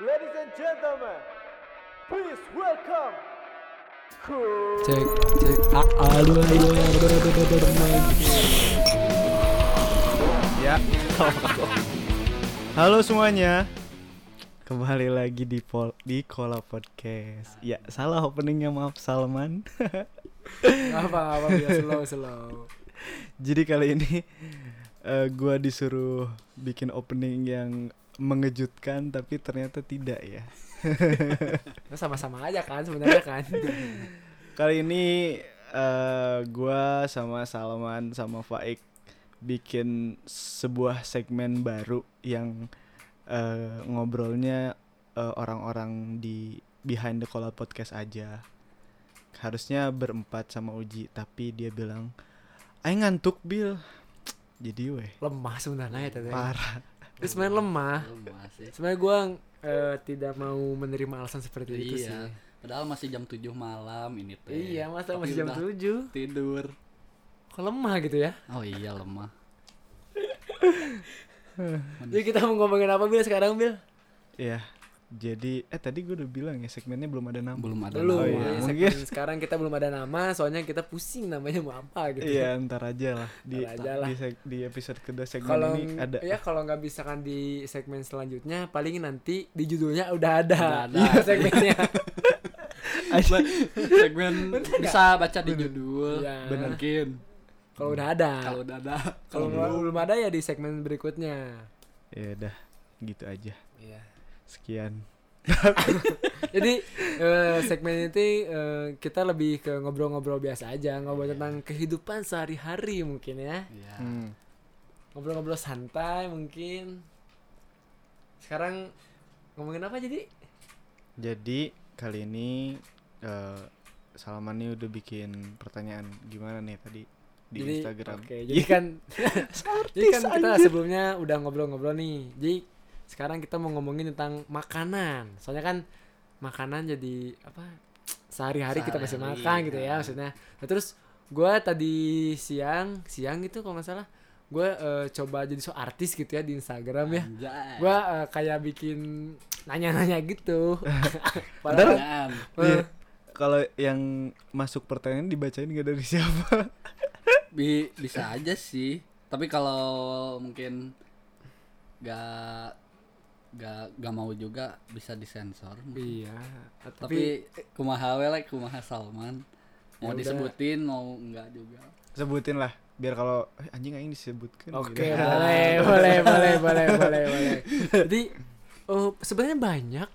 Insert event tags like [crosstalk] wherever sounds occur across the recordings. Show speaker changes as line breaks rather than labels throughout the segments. Ladies and gentlemen, please welcome Cool.
Cek cek a aduh aduh
Ya. Halo semuanya. Kembali lagi di pol di Kola Podcast. Ya, salah openingnya maaf Salman.
Apa apa biar slow slow.
Jadi kali ini eh, gua disuruh bikin opening yang mengejutkan tapi ternyata tidak ya.
Terus sama-sama aja kan sebenarnya kan.
Kali ini eh, gua sama Salman sama Faik bikin sebuah segmen baru yang eh, ngobrolnya eh, orang-orang di behind the Kola podcast aja. Harusnya berempat sama Uji, tapi dia bilang, "Aing ngantuk, Bill." Jadi weh,
Lemah sebenarnya ya tadi.
parah.
Terus main lemah.
Lemah sih.
Sebenarnya gua eh, tidak mau menerima alasan [laughs] seperti itu sih.
Iya. Padahal masih jam 7 malam ini teh.
Iya, masa
Tapi
masih jam
udah
7
Tidur.
Kok lemah gitu ya?
Oh iya lemah.
Jadi kita mau ngomongin apa Bil sekarang Bil?
Ya, jadi eh tadi gue udah bilang ya segmennya belum ada nama.
Belum ada
Belum.
Oh,
nama.
Jadi
iya. Mungkin.
ya, segmen Sekarang kita belum ada nama, soalnya kita pusing namanya mau apa gitu.
Iya, ntar aja lah di
Ntar aja lah.
di, seg- di episode kedua segmen
kalau
ini ada.
ya kalau nggak bisa kan di segmen selanjutnya paling nanti di judulnya udah ada,
Udah ada.
Iya, segmennya
[laughs]
[laughs]
Segmen bisa baca di judul.
Iya. Nah. Bener.
Mungkin.
kalau udah ada
Kalau udah ada.
kalau belum belum ada ya di segmen berikutnya
Ya udah, gitu aja.
Iya.
Sekian.
jadi eh, segmen ini eh, kita lebih ke ngobrol-ngobrol biasa aja ngobrol tentang kehidupan sehari-hari mungkin ya
Iya.
Hmm.
ngobrol-ngobrol santai mungkin sekarang ngomongin apa jadi
Jadi kali ini eh Salman nih udah bikin pertanyaan gimana nih tadi di
jadi,
Instagram.
Oke, jadi kan Jadi kan kita sebelumnya udah ngobrol-ngobrol nih. Jadi sekarang kita mau ngomongin tentang makanan. Soalnya kan makanan jadi apa? Sehari-hari kita masih
Sehari-hari,
makan gitu ya
ya.
maksudnya. Nah, terus gua tadi siang, siang itu kalau nggak salah gua eh, coba jadi so artis gitu ya di Instagram
Iya.
ya.
Anjay.
Gua eh, kayak bikin nanya-nanya gitu. Padahal
Pertanyaan.
Iya. Kalau yang masuk pertanyaan dibacain gak dari [laughs] siapa?
Bi- bisa aja sih. Tapi kalau mungkin gak gak gak mau juga bisa disensor. mungkin.
iya. Tapi,
tapi eh, kumaha we like kumaha Salman
Ya
mau
udah.
disebutin mau enggak juga
Sebutin lah biar kalau eh, anjing aing disebutkan.
Oke,
gitu.
boleh, boleh, boleh, boleh, boleh, boleh. Jadi eh, sebenarnya [laughs] banyak.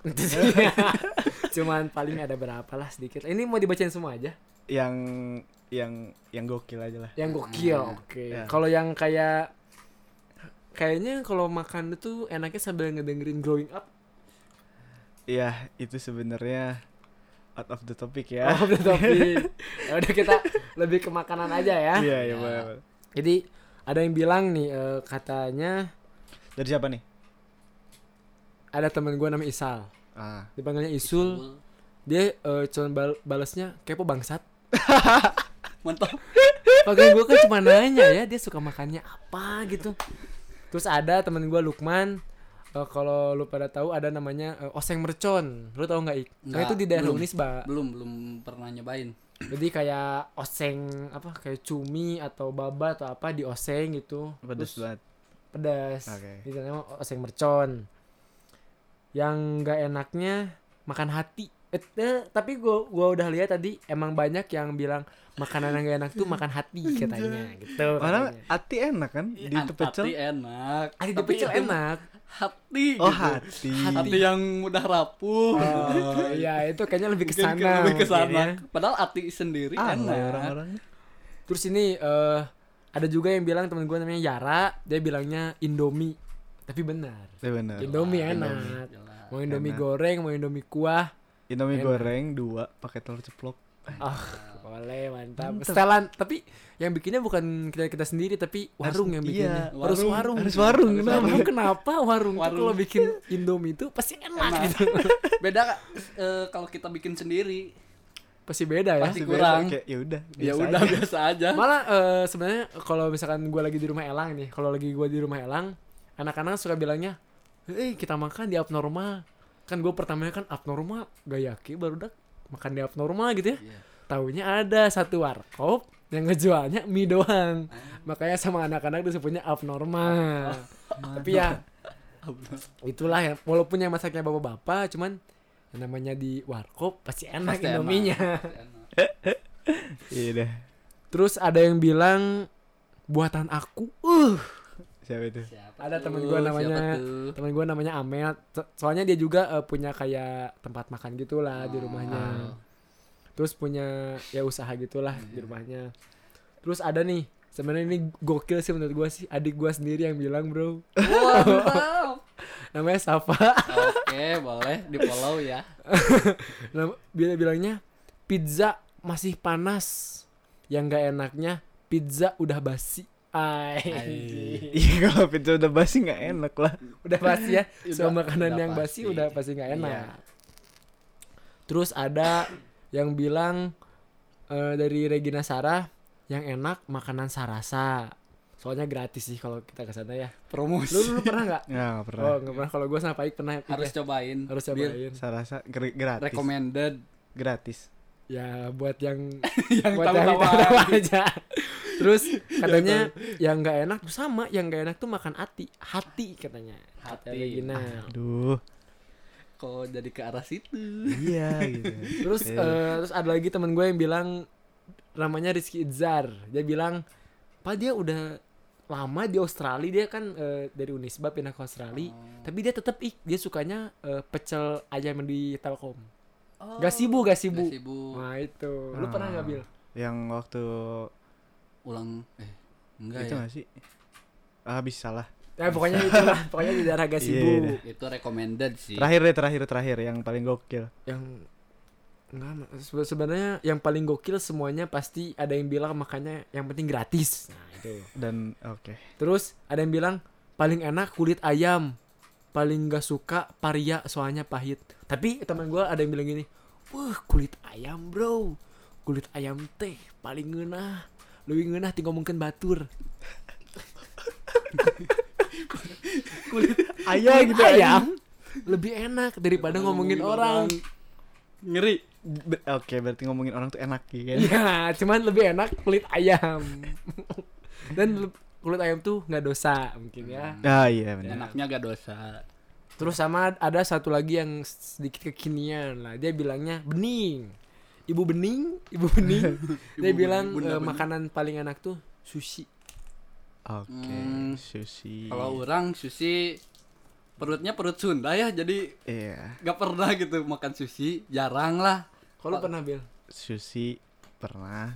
Cuman paling ada berapa lah sedikit. Ini mau dibacain semua aja.
Yang yang yang gokil aja lah.
Yang gokil,
Hmm,
oke.
ya.
Kalau yang kayak kayaknya kalau makan itu enaknya sambil ngedengerin growing [laughs] up.
Iya, itu sebenarnya out of the topic ya.
Oh, tapi ya udah kita lebih ke makanan aja ya.
Iya, iya
Ya.
boleh, boleh.
Jadi ada yang bilang nih eh, katanya
Dari siapa nih?
ada teman gua namanya Isal.
Ah.
Dipanggilnya Isul. Dia eh, cuman bal- balesnya kepo bangsat.
mantap
Pakai gue kan cuma nanya ya dia suka makannya apa gitu. Terus ada temen gue Lukman. eh, kalau lu pada tahu ada namanya eh, oseng mercon. Lu tahu nggak ik? Nah,
Nggak,
itu di daerah
belum.
Unisba.
belum belum pernah nyobain
Jadi kayak oseng apa kayak cumi atau baba atau apa di oseng gitu. Terus
Pedes banget.
Pedas.
Oke.
Itu namanya oseng mercon. Yang nggak enaknya makan hati. Eh, eh, tapi gua gua udah lihat tadi emang banyak yang bilang makanan yang gak enak tuh makan hati katanya gitu.
Karena
katanya.
hati enak kan
Iya,
di
An-
pecel.
hati enak
Ada
Tapi
dipecel
itu
enak.
hati
Oh,
gitu.
hati.
hati. yang mudah
[laughs]
rapuh [laughs]
Oh, iya itu kayaknya lebih ke
Mungkin
sana.
lebih ke
mungkin
sana
ya.
padahal hati sendiri
Ah,
enak
orang-orang.
Terus ini eh, ada juga yang bilang teman gue namanya Yara, dia bilangnya Indomie. Tapi benar.
Ya benar.
Indomie
Wah,
enak.
Indomie, Ah, jelas.
Mau Indomie
Enak.
goreng, mau Indomie kuah.
Indomie
Enak.
goreng dua pakai telur ceplok.
Ah, boleh mantap. Setelan, tapi yang bikinnya bukan kita kita sendiri tapi warung yang
Harus-
bikinnya.
iya,
Harus
warung.
warung.
Harus warung,
Harus
kenapa?
warung. kenapa warung? tuh
Warung.
Kalau bikin Indomie itu pasti enak
Enak.
gitu. [laughs]
beda eh, kalau kita bikin sendiri
Pasti beda ya.
Pasti
Masih
kurang.
Kayak, ya udah.
ya
biasa
udah
aja.
biasa aja
Malah eh, sebenarnya kalau misalkan gue lagi di rumah Elang nih, kalau lagi gue di rumah Elang, anak-anak suka bilangnya, "Eh, kita makan di abnormal." kan gue pertamanya kan abnormal gak yakin baru dak makan di abnormal gitu ya
Iya.
Taunya ada satu warkop yang ngejualnya mie doang makanya sama anak-anak disebutnya abnormal tapi ya itulah ya walaupun yang masaknya bapak-bapak cuman yang namanya di warkop pasti enak
Pasti enak.
indominya
Iya dah.
terus ada yang bilang buatan aku uh
Siapa itu?
Siapa
Ada
tuh?
temen gua namanya-
Siapa tuh?
teman gue namanya Amel So- soalnya dia juga eh, punya kayak tempat makan gitulah Ah, di rumahnya
Oh.
terus punya ya usaha gitulah di rumahnya terus ada nih sebenarnya ini gokil sih menurut gue sih adik gue sendiri yang bilang bro
Wah, mantap.
namanya Safa [laughs]
Oke, boleh di follow ya.
Nam- dia bilangnya pizza masih panas yang gak enaknya pizza udah basi Ay.
Iya kalau pizza udah basi nggak enak lah.
[laughs] udah basi ya
Udah-
semua makanan
udah
yang basi
pasti.
udah pasti nggak enak
Iya.
terus ada yang bilang eh, dari Regina Sarah yang enak makanan Sarasa soalnya gratis sih kalau kita ke sana ya
Promosi.
lu, lu pernah nggak
Nggak nggak pernah.
oh nggak [laughs] pernah kalau gue sama Paik pernah
harus
Iya,
cobain.
harus
Biar
cobain
Saya rasa ger- gratis.
Recommended.
Gratis.
ya buat yang
yang
buat [laughs] yang
tahu-tahu
tahu aja [laughs] terus katanya yang nggak enak tuh sama yang nggak enak tuh makan hati hati katanya kata
Hati.
Regina
Duh.
Kok jadi ke arah situ?
Iya gitu.
Terus
Eh.
eh, terus ada lagi teman gue yang bilang namanya Rizky Idzar. Dia bilang, "Pak dia udah lama di Australia, dia kan eh, dari Unisba pindah ke Australia,
Oh.
tapi dia tetap ik, dia sukanya eh, pecel ayam yang di Telkom. Gak sibuk, gak
Gak
sibuk.
sibuk.
Nah, itu. Lu pernah
Ah.
nggak Bil?
Yang waktu
Ulang eh enggak
itu
ya.
nggak sih? Ah bisa salah.
Ya pokoknya itu lah, pokoknya di daerah gak
Iya,
sibuk.
iya.
Itu recommended sih.
Terakhir deh terakhir terakhir yang paling gokil.
Yang enggak sebe- sebenarnya yang paling gokil semuanya pasti ada yang bilang makanya yang penting gratis. Nah, itu.
Dan oke.
Terus ada yang bilang paling enak kulit ayam, paling gak suka paria soalnya pahit. Tapi teman gua ada yang bilang gini, wah kulit ayam bro, kulit ayam teh paling ngenah, lebih ngenah tinggal mungkin batur. kulit
[laughs] Ayam
kulit
gitu,
ayam lebih enak daripada ngomongin orang. [laughs]
Ngeri. Be- Oke, berarti ngomongin orang tuh enak ya kan?
Ya, cuman lebih enak kulit ayam. [laughs] Dan le- kulit ayam tuh nggak dosa mungkin ya.
Ah iya benar.
Enaknya gak dosa.
Terus sama ada satu lagi yang sedikit kekinian lah. Dia bilangnya bening. Ibu bening, ibu [laughs] bening. dia
Ibu
bilang
Bening,
eh,
Bunda Bening.
makanan paling enak tuh sushi.
Oke,
Hmm.
sushi.
Kalau orang sushi perutnya perut Sunda ya, jadi
Iya,
gak pernah gitu makan sushi, jarang lah.
Kalau
Pa-
pernah Bil?
sushi pernah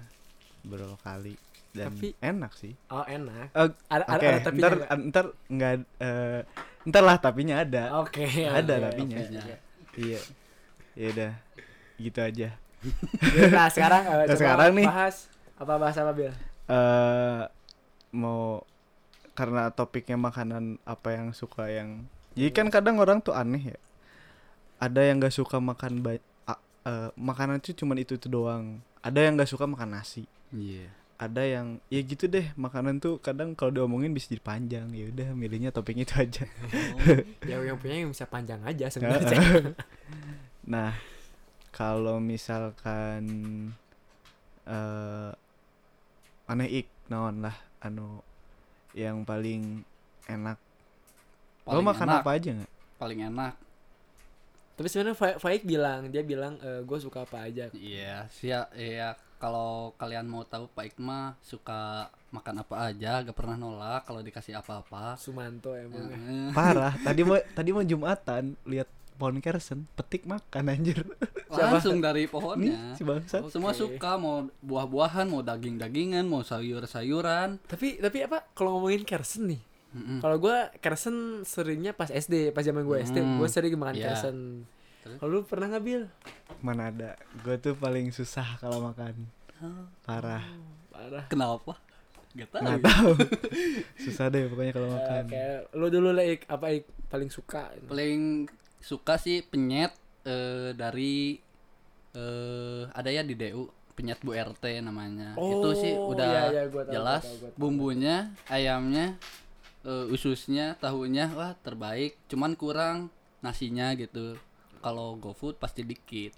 beberapa kali dan
Tapi-
enak sih.
Oh enak.
Eh,
Ada ada,
Oke,
ada tapinya
ntar
nggak?
ntar nggak eh, ntar lah tapinya ada.
Oke.
ada
oke.
tapinya.
Tapinya.
Iya. Ya udah. Gitu aja.
Nah sekarang eh,
Nah,
coba
sekarang nih.
bahas apa bahas apa Bil?
eh mau karena topiknya makanan apa yang suka yang jadi kan
Iya.
kadang orang tuh aneh ya ada yang gak suka makan ba- a- eh, makanan itu cuman itu itu doang ada yang gak suka makan nasi
Iya.
ada yang ya gitu deh makanan tuh kadang kalau diomongin bisa jadi panjang ya udah milihnya topik itu aja [laughs]
Ya yang punya yang bisa panjang aja sebenarnya.
Heeh. nah kalau misalkan eh aneh ik naon lah anu yang paling enak lo
Paling
makan
enak,
apa aja nggak
Paling enak.
[laughs] Tapi sebenarnya Fa- Faik bilang dia bilang gue suka apa aja.
Iya, siap. Iya, kalau kalian mau tahu Pak Ikma suka makan apa aja, gak pernah nolak kalau dikasih
[laughs]
apa-apa.
Sumanto emang.
Eh,
parah
[laughs]
tadi mau tadi mau jumatan lihat pohon kersen petik makan anjir [laughs]
Langsung
nih
dari pohonnya.
si bangsat
Semua suka mau buah-buahan, mau daging-dagingan, mau sayur-sayuran.
Tapi tapi apa kalau ngomongin kersen nih?
Mm-mm.
Kalau gue kersen seringnya pas SD, pas zaman gue SD,
Hmm.
gue sering makan
Iya.
kersen.
Terus?
Kalau lu pernah nggak bil?
mana ada gue tuh paling susah kalau makan parah
Parah.
Kenapa? Gak tahu.
nggak
ya. [laughs]
tahu susah deh pokoknya kalau
Eh,
makan
Oke, lu dulu lah Ik. apa Ik paling suka?
Paling suka sih penyet eh, dari eh ada ya di DU penyet Bu RT namanya. Itu sih
Oh,
udah
iya, iya, gua tahu,
jelas
gua tahu, gua tahu.
bumbunya, ayamnya, eh, ususnya, tahunya wah terbaik. Cuman kurang nasinya gitu. kalau GoFood pasti dikit.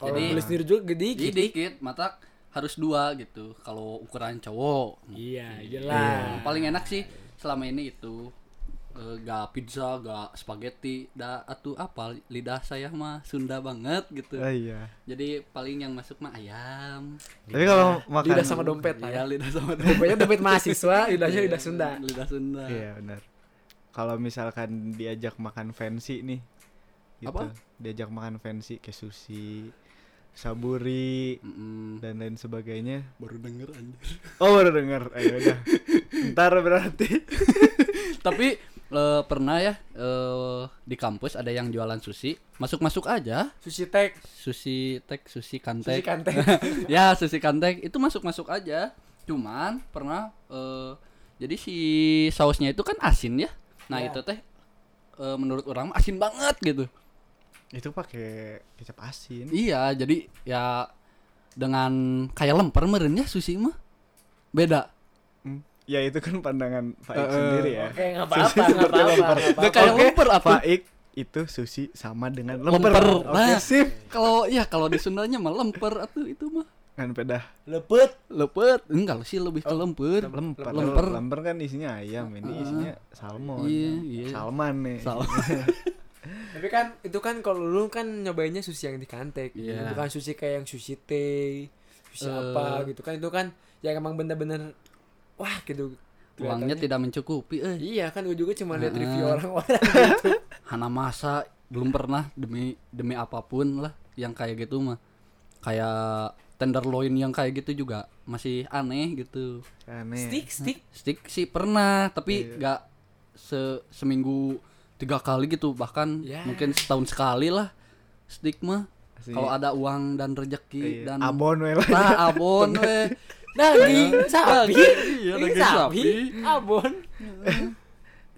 Kalau
Jadi-
beli sendiri juga gede
Jadi
dikit.
dikit, mata harus dua gitu. Kalau ukuran cowok.
Iya,
Yang
jelas.
paling enak sih selama ini itu eh, gak pizza, gak spaghetti, da atuh apa lidah saya mah Sunda banget
Eh.
gitu.
Oh iya.
Jadi paling yang masuk mah ayam. Gitu.
Tapi kalau makan
Lidah sama dompet lah ya.
Iya, lidah sama
Pokoknya [laughs] dompet
[laughs]
mahasiswa, lidahnya
Iya.
lidah Sunda.
Lidah Sunda.
Iya benar. Kalau misalkan diajak makan fancy nih, gitu.
Apa?
Diajak makan fancy kayak sushi, saburi
Hmm. Mm-mm.
dan lain sebagainya.
Baru denger aja.
Oh baru denger, ayo udah. Ntar berarti.
[laughs] Tapi eh, pernah ya eh, di kampus ada yang jualan sushi, masuk-masuk aja.
Sushi tek,
Sushi tek,
sushi
sushi kantek. [laughs]
kantek.
ya, sushi kantek itu masuk-masuk aja. Cuman pernah eh, jadi si sausnya itu kan asin ya. Nah,
Ya.
Iya.
itu teh eh, menurut orang mah asin banget gitu.
Itu pakai kecap asin.
Iya, jadi ya dengan kayak lemper merenya sushi mah beda.
Hmm. Ya itu kan pandangan Faik
Eh, eh,
sendiri ya.
Oke, enggak apa-apa,
Sushi
enggak
seperti
apa-apa.
lemper.
nggak
Udah
apa-apa.
kayak
Oke,
lemper atau
Faik itu sushi sama dengan
lemper.
lemper.
Nah,
Oke, sip.
kalau ya kalau di Sundanya mah lemper atau itu mah
Kan pedah
Lepet.
lepet. Enggak sih lebih ke
Oh,
lemper.
lemper.
Lemper.
lemper. kan isinya ayam, ini
Heeh.
isinya salmon.
Iya, iya.
Salman nih. [laughs]
Salah.
Tapi kan itu kan kalau lu kan nyobainnya sushi yang di kantek,
Iya.
bukan sushi kayak yang sushi teh, sushi
Eh.
apa gitu kan itu kan yang emang bener-bener wah gitu. kelihatannya.
Uangnya Eh. tidak mencukupi eh.
Iya kan gue juga cuma lihat
Heeh.
review orang-orang. gitu.
[laughs] Hana masa belum pernah demi demi apapun lah yang kayak gitu mah. Kayak tenderloin yang kayak gitu juga masih aneh gitu.
Aneh.
stick stick.
Stick sih pernah, tapi
Iya.
nggak se seminggu tiga kali gitu, bahkan
Ya.
mungkin setahun sekali lah stick mah.
Asli.
Kalau ada uang dan rezeki
Iya.
dan
abon we lah.
Nah, abon weh.
Daging sapi. Daging
Iya, Eh. daging
sapi.
sapi.
Abon.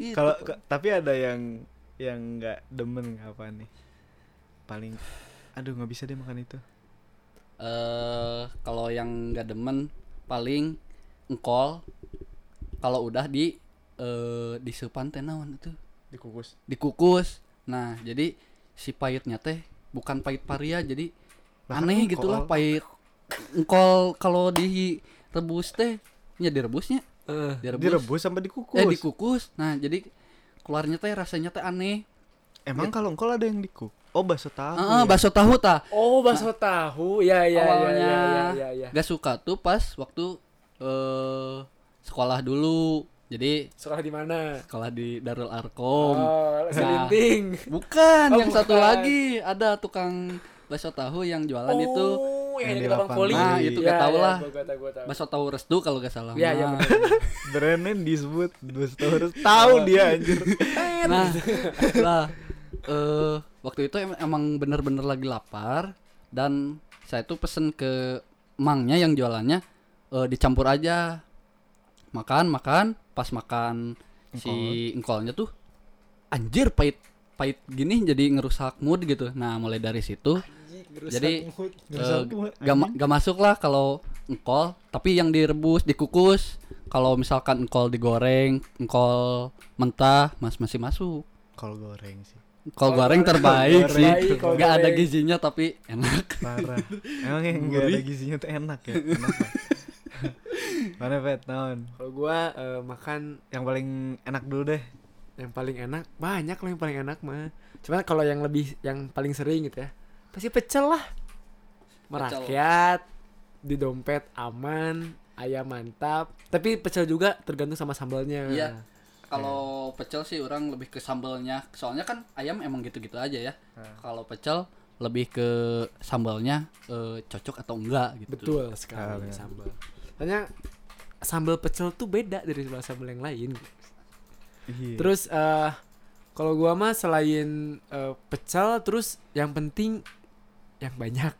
Gitu.
[laughs] Kalau ke- tapi ada yang yang nggak demen nggak apa nih? Paling aduh nggak bisa deh makan itu.
eh kalau yang nggak demen paling engkol kalau udah di eh disupan teh naon itu
Dikukus.
dikukus nah jadi si pahitnya teh bukan pahit paria jadi
Lah,
aneh
engkol.
gitulah pahit engkol kalau direbus teh ya direbusnya
Eh,
direbus,
Direbus sama dikukus.
eh dikukus nah jadi keluarnya teh rasanya teh aneh
Emang kalau engkol ada yang dikukus? Oh bakso tahu.
Ah, ah,
ya?
Iya. bakso tahu tah
Oh, bakso tahu. Ya ya ya
awalnya
ya ya ya.
gak suka tuh pas waktu eh sekolah dulu jadi
Sekolah di mana?
sekolah di Darul Arkom
Oh,
Nah.
selinting.
bukan
Oh,
yang satu
bukan. Oh.
lagi ada tukang bakso tahu yang jualan itu
yang
yang
di
di
lapang
lapang
voli.
Nah, itu
Ya,
gak tau
ya,
lah.
gua- gua tau, gua tau.
bakso tahu restu kalau gak salah
Ya, ya,
Nah,
Brandnya disebut bakso tahu harus tahu dia
[laughs]
anjir.
[laughs] nah lah eh, waktu itu em- emang bener-bener lagi lapar dan saya tuh pesen ke mangnya yang jualannya eh, dicampur aja makan makan pas makan si engkolnya tuh anjir pahit pahit gini jadi ngerusak mood gitu nah mulai dari situ jadi
Ngerusak
eh,
mood,
gak, ma- gak masuk lah kalau engkol tapi yang direbus dikukus kalau misalkan engkol digoreng engkol mentah mas masih masuk
Kol goreng sih.
Kol goreng terbaik sih.
terbaik, kol
Gak ada
goreng.
gizinya tapi enak. [laughs]
Parah. Emang yang nggak ada gizinya tuh enak ya. Kenapa? Mana pet naon?
Kalau gua eh, makan
Yang paling enak dulu deh.
yang paling enak banyak loh yang paling enak mah. Cuman kalau yang lebih yang paling sering gitu ya pasti pecel lah. Merakyat di dompet aman ayam mantap tapi pecel juga tergantung sama sambalnya
Iya. Kalau pecel sih orang lebih ke sambelnya. Soalnya kan ayam emang gitu-gitu aja ya. Kalau pecel lebih ke sambalnya eh, cocok atau enggak gitu.
betul sekali
Ah, benar.
sambal soalnya sambal pecel tuh beda dari sambal yang lain
Iya.
Terus eh kalau gua mah selain eh, pecel terus yang penting yang banyak,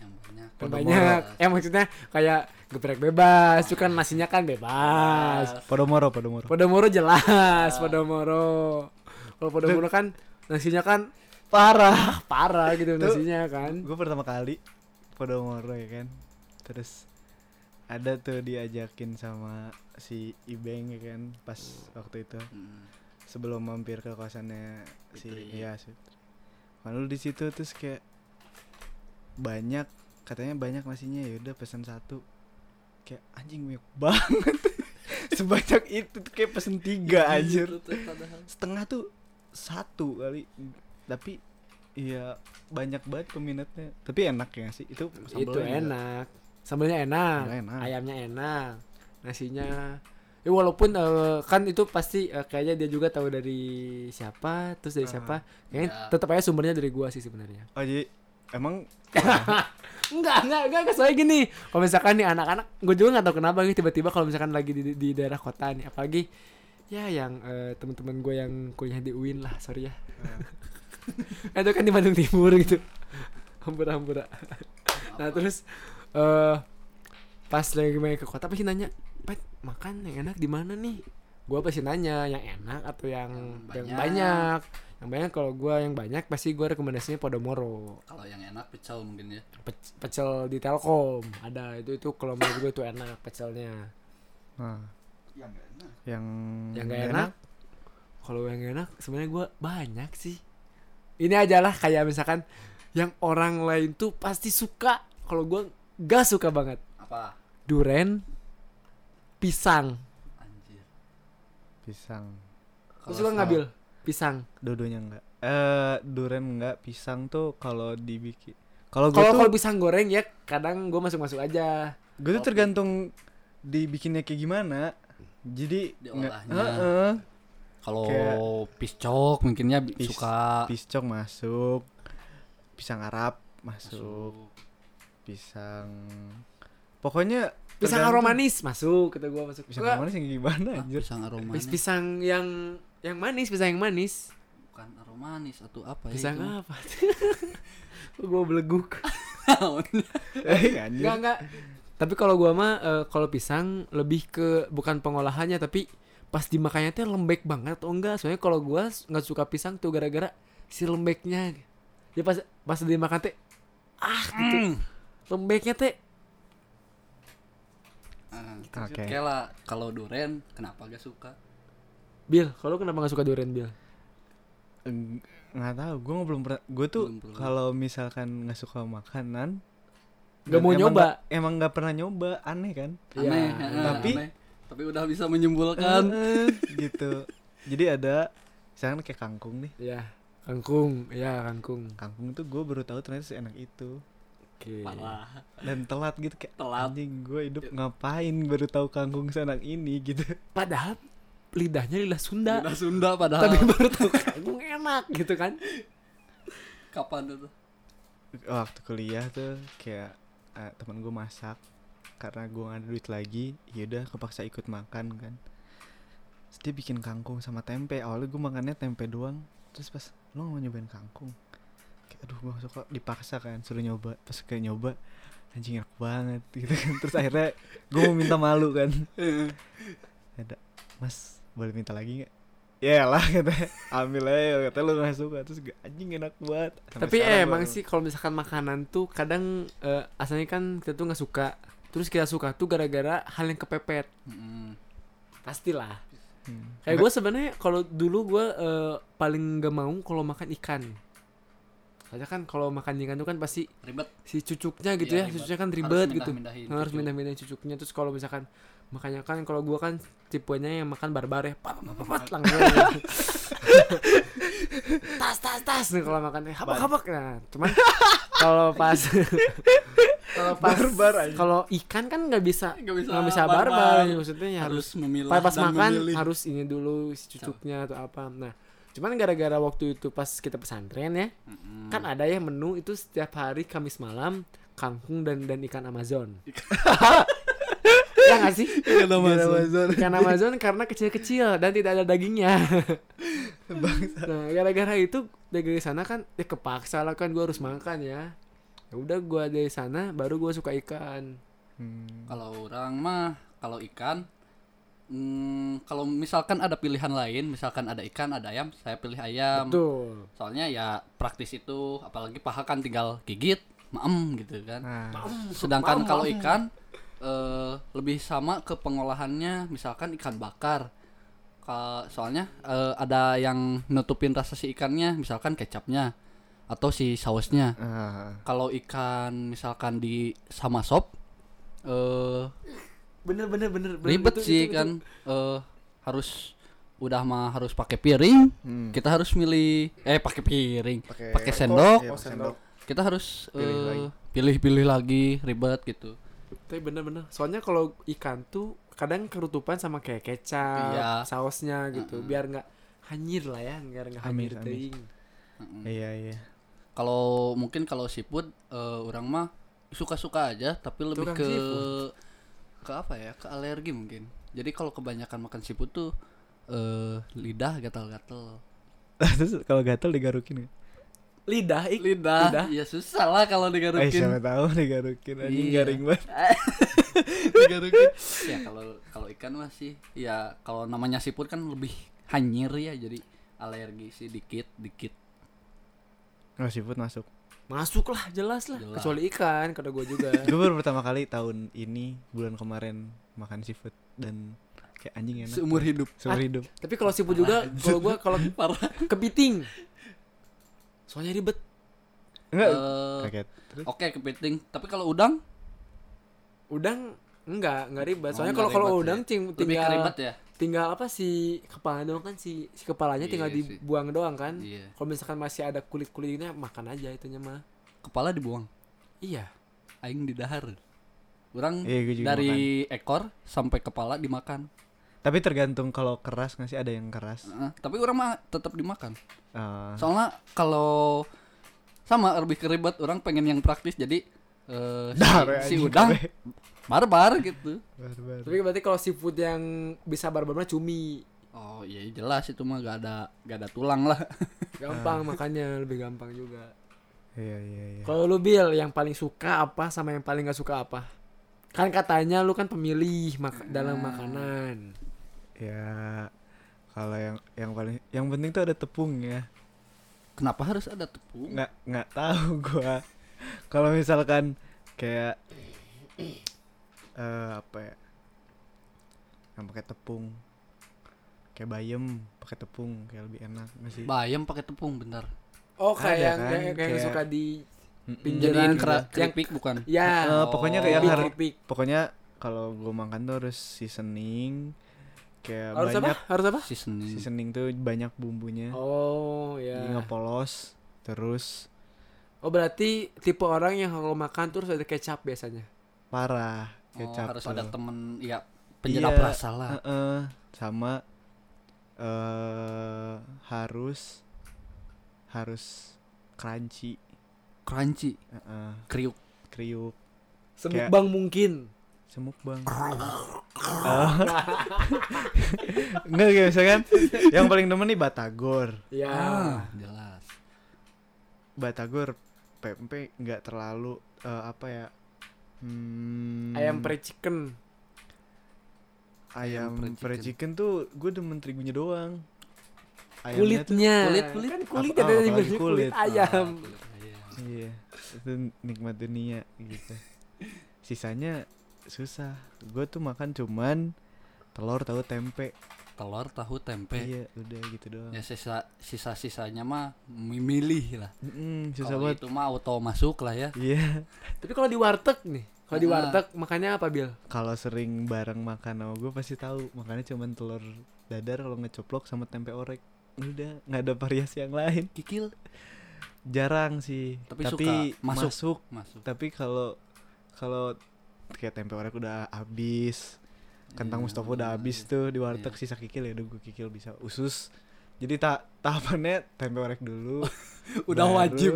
Yang banyak.
yang banyak. [laughs] Eh maksudnya kayak geprek bebas, itu kan nasinya kan bebas.
Podomoro, Podomoro.
Podomoro jelas, Podomoro. Kalau Podomoro kan nasinya kan parah, [laughs] parah gitu nasinya kan.
Gue pertama kali Podomoro ya kan. Terus ada tuh diajakin sama si Ibeng ya kan pas waktu itu
Hmm.
sebelum mampir ke kosannya si
Fitri.
iya si Fitri. malu di situ terus kayak banyak katanya banyak nasinya ya udah pesan satu kayak anjing banyak [laughs] banget sebanyak itu tuh kayak pesan tiga anjir
Gitu tuh, padahal.
setengah tuh satu kali tapi iya banyak banget peminatnya tapi enak ya sih itu sambelnya
itu
juga.
enak sambelnya enak
Sambelnya enak.
ayamnya enak nasinya ya walaupun eh, kan itu pasti eh, kayaknya dia juga tahu dari siapa terus dari
Ah.
siapa kayaknya
Ya.
tetap aja sumbernya dari gua sih sebenarnya
oh jadi emang
Enggak, enggak, enggak, enggak soalnya gini. Kalau misalkan nih anak-anak, gue juga nggak tahu kenapa gitu tiba-tiba kalau misalkan lagi di, di daerah kota nih, apalagi ya yang eh, teman-teman gue yang kuliah di UIN lah, sorry ya. [laughs] itu kan di Bandung Timur gitu. Hampura-hampura. nah, terus eh pas lagi main ke kota pasti nanya, "Pet, makan yang enak di mana nih?" Gue pasti nanya yang enak atau yang yang
Yang
banyak. Yang
banyak.
banyak, kalau gue yang banyak pasti gue rekomendasinya Podomoro
kalau yang enak pecel mungkin ya
pec- pecel di Telkom ada itu itu kalau menurut gue itu enak pecelnya
nah,
yang enak
yang
yang gak enak kalau yang gak enak sebenarnya gue banyak sih ini aja lah kayak misalkan yang orang lain tuh pasti suka kalau gue gak suka banget
apa
duren pisang
anjir
pisang
lu
Kalau
suka
sel-
ngambil pisang
dodonya enggak eh duren enggak pisang tuh kalau dibikin kalau gue
kalau kalau
tuh
pisang goreng ya kadang gue masuk masuk aja
gue tuh
Kopi.
tergantung dibikinnya kayak gimana jadi nggak
Diolahnya.
Heeh.
kalau
Kayak-
piscok mungkinnya ya, bi-
Pis-
suka
piscok masuk pisang arab masuk pisang pokoknya
pisang
tergantung.
aroma manis masuk kata gue masuk
pisang
Gua-
aroma manis yang gimana
Ah, [laughs]
anjir
pisang aroma
pis- pisang yang yang manis pisang yang manis
bukan aromanis atau apa
Pisang
ya
apa? [laughs] Ah, gue beleguk.
[laughs] itu?
Eh, [laughs] anjir
Enggak enggak. Tapi kalau gua mah eh, kalau pisang lebih ke bukan pengolahannya tapi pas dimakannya tuh lembek banget atau enggak. Soalnya kalau gua s- nggak suka pisang tuh gara-gara si lembeknya. Ya pas pas dimakan teh ah gitu.
Mm.
Lembeknya teh
Ah,
oke
Oke lah, kalau duren kenapa gak suka?
Bil, kalau lu kenapa nggak suka durian Bil?
Eng- nggak tahu gue belum pernah gue tuh
Belum pernah.
kalau misalkan nggak suka makanan
Gak
dan
mau
emang
nyoba.
nggak- emang nggak pernah nyoba aneh kan
Iya,
Aneh, eh,
tapi-
aneh. tapi udah bisa menyimpulkan
Eh, [laughs] gitu jadi ada misalkan kayak kangkung nih
Ya, kangkung. Ya, kangkung.
kangkung tuh gue baru tahu ternyata seenak itu
Oke.
Iya. parah.
dan telat gitu kayak
Telat.
anjing gue hidup ngapain baru tahu kangkung seenak ini [laughs] gitu
Padahal lidahnya lidah Sunda. [laughs]
Udah Sunda padahal.
Tapi baru tahu kangkung enak gitu kan.
kapan itu?
waktu kuliah tuh kayak eh, teman gue masak karena gue gak ada duit lagi yaudah kepaksa ikut makan kan terus dia bikin kangkung sama tempe awalnya gue makannya tempe doang terus pas lo mau nyobain kangkung kayak aduh gue suka dipaksa kan suruh nyoba pas kayak nyoba anjing enak banget [laughs] gitu kan terus akhirnya gue mau minta malu
[laughs]
kan ada mas boleh minta lagi nggak ya lah katanya ambil aja katanya lo gak suka terus gue, anjing enak banget Sampai
Tapi
sekarang gua
emang
nggak-
sih kalau misalkan makanan tuh kadang eh, asalnya kan kita tuh nggak suka, terus kita suka tuh gara-gara hal yang kepepet.
Mm-mm.
Pastilah.
Hmm.
Kayak gue sebenarnya kalau dulu gue eh, paling gak mau kalau makan ikan. Soalnya kan kalau makan ikan tuh kan pasti
Ribet.
si cucuknya gitu ya,
Iya, ribet.
cucuknya kan
Harus
ribet gitu.
mindah-mindahin
harus
cucuk.
mindah-mindahin cucuknya terus kalau misalkan makanya kan kalau gua kan tipenya yang makan barbar ya pat pat, pat, pat, langsung [laughs] tas tas tas nih Nah, kalau makan habak habak nah cuman kalau [laughs] pas kalau pas
Barbar aja.
kalau ikan kan nggak bisa
Nggak bisa
nggak bisa
barbar.
barbar maksudnya ya harus
Harus memilah
pas, pas
dan
makan
memilih.
harus ini dulu si cucuknya atau apa nah cuman gara-gara waktu itu pas kita pesantren ya
Mm-mm.
kan ada ya menu itu setiap hari Kamis malam kangkung dan dan ikan [laughs] Amazon Iya ya nggak sih
Ikan Amazon.
ikan Amazon karena kecil-kecil dan tidak ada [laughs] dagingnya nah gara-gara itu dari sana kan ya kepaksa lah kan gue harus makan ya ya udah gue dari sana baru gue suka ikan
Hmm.
Kalau orang mah kalau ikan mm, kalau misalkan ada pilihan lain, misalkan ada ikan, ada ayam, saya pilih ayam.
betul
Soalnya ya praktis itu, apalagi paha kan tinggal gigit, maem gitu kan.
Nah,
Sedangkan kalau ikan eh, lebih sama ke pengolahannya, misalkan ikan bakar. Ka- soalnya eh, ada yang nutupin rasa si ikannya, misalkan kecapnya. atau si sausnya
Ah.
kalau ikan misalkan di sama sop eh
bener bener bener bener.
ribet
Itu-
sih
itu-
kan eh harus udah mah harus pakai piring
Hmm.
kita harus milih eh pakai piring
Pakai
pakai sendok
Iya, pakai sendok.
kita harus
Pilih
eh,
lagi.
pilih-pilih lagi. ribet gitu
itu. tapi bener bener soalnya kalau ikan tuh kadang kerutupan sama kayak kecap
Iya.
sausnya gitu biar nggak hanyir lah ya biar nggak hanyir
Amis,
teuing
Iya iya.
kalau mungkin kalau seafood eh, orang mah suka-suka aja tapi lebih
Tukang
ke
seafood.
ke apa ya ke alergi mungkin jadi kalau kebanyakan makan seafood tuh eh lidah gatal-gatal
[laughs] Terus kalau gatel digarukin ya?
lidah ik
lidah,
lidah.
ya susah lah kalau
Eh siapa
[laughs] digarukin
tahu digarukin anjing
Iya.
garing banget.
digarukin ya kalau kalau ikan masih ya kalau namanya seafood kan lebih hanyir ya jadi alergi sih dikit dikit
Oh, seafood masuk.
masuk lah jelas lah
Jelas.
kecuali ikan kata gue
[laughs]
juga
Gue baru pertama kali tahun ini bulan kemarin makan seafood dan kayak anjing enak.
seumur hidup
Seumur hidup.
tapi kalau seafood juga kalau gue kalau
[laughs] parah
kepiting soalnya ribet
Enggak.
Eh,
Kaget. Terus?
oke kepiting tapi kalau udang
udang enggak enggak ribet soalnya
Oh,
kalau
nggak
kalau
ribet
udang
ya.
cing-
lebih
tinggal
keribet ya
tinggal apa si kepala doang kan si si kepalanya
Iya
tinggal
sih.
dibuang doang kan
Iya.
kalau misalkan masih ada kulit kulitnya makan aja itunya mah
kepala dibuang
iya
aing didahar orang
Iya, gua juga
dari ekor sampai kepala dimakan
Tapi tergantung kalau keras nggak sih ada yang keras.
Heeh, tapi orang mah tetap dimakan
Ah.
soalnya kalau sama lebih keribet orang pengen yang praktis jadi eh, si-
Dahar ya,
si,
anjing,
udang
kabeh.
barbar gitu
Barbar.
tapi berarti kalau seafood yang bisa barbar mah cumi
oh iya jelas itu mah gak ada gak ada tulang lah [laughs]
gampang
Ah.
makannya lebih gampang juga
Iya iya iya.
kalau lu bil yang paling suka apa sama yang paling nggak suka apa kan katanya lu kan pemilih
Ah.
mak- dalam makanan
Ya kalau yang yang paling yang penting tuh ada tepung ya.
kenapa harus ada tepung
nggak nggak tahu gua kalau misalkan kayak eh apa ya yang pakai tepung kayak bayam pakai tepung kayak lebih enak masih
bayam pakai tepung bentar
oh
Ada
kayak yang
kan,
kayak, kayak yang
kayak-
suka di
Mm-mm.
pinggir.
jadiin
Jangan
kera-
iya.
gitu.
keripik bukan
ya
Eh, pokoknya kayak
keripik,
yang harus
keripik.
pokoknya kalau gua makan tuh harus seasoning kayak
harus apa
ya, banyak Iya.
harus apa
seasoning
seasoning tuh banyak bumbunya
oh ya
jadi nggak polos terus
Oh berarti tipe orang yang kalau makan terus ada kecap biasanya.
parah
Oh,
kecap
harus ada
tuh.
temen ya penyedap
Iya,
rasa lah
Heeh, sama eh harus harus crunchy,
crunchy
Heeh,
kriuk
kriuk,
Semukbang
Kayak-
bang mungkin.
semuk bang. Ah. Enggak kayak misalkan yang paling demen nih batagor.
Ya.
ah
[laughs]
jelas
Batagor pempek nggak terlalu eh, apa ya? Hmm,
Ayam pre chicken.
ayam
Ayam fried
fried chicken
chicken.
tuh gue demen terigunya doang. Ayamnya tuh-
Kulitnya.
Kulit, kulit.
Kan kulit
Apa-
ada
apa
di
lagi
kulit,
kulit?
ayam.
Ah, kulit ayam.
Iya, itu nikmat dunia gitu. Sisanya susah. Gue tuh makan cuman telur tahu tempe.
telur tahu tempe
Iya, udah gitu doang.
ya sisa sisa sisanya mah memilih lah
Mm-mm, susah
kalau
banget.
itu mah auto masuk lah ya
Iya,
Tapi kalau di warteg nih, kalau di
Ah.
warteg makannya apa Bil?
kalau sering bareng makan sama gue pasti tahu. Makanya cuman telur dadar kalau ngecoplok sama tempe orek. Udah, nggak ada variasi yang lain.
kikil
Jarang sih.
Tapi suka masuk.
masuk.
masuk
Tapi kalau kalau kayak tempe orek udah habis, kentang
Iya,
Mustafa udah habis tuh di warteg sisa kikil ya udah gue kikil bisa usus jadi tak tahapannya tempe orek dulu
[laughs] [laughs] Udah
baru-
wajib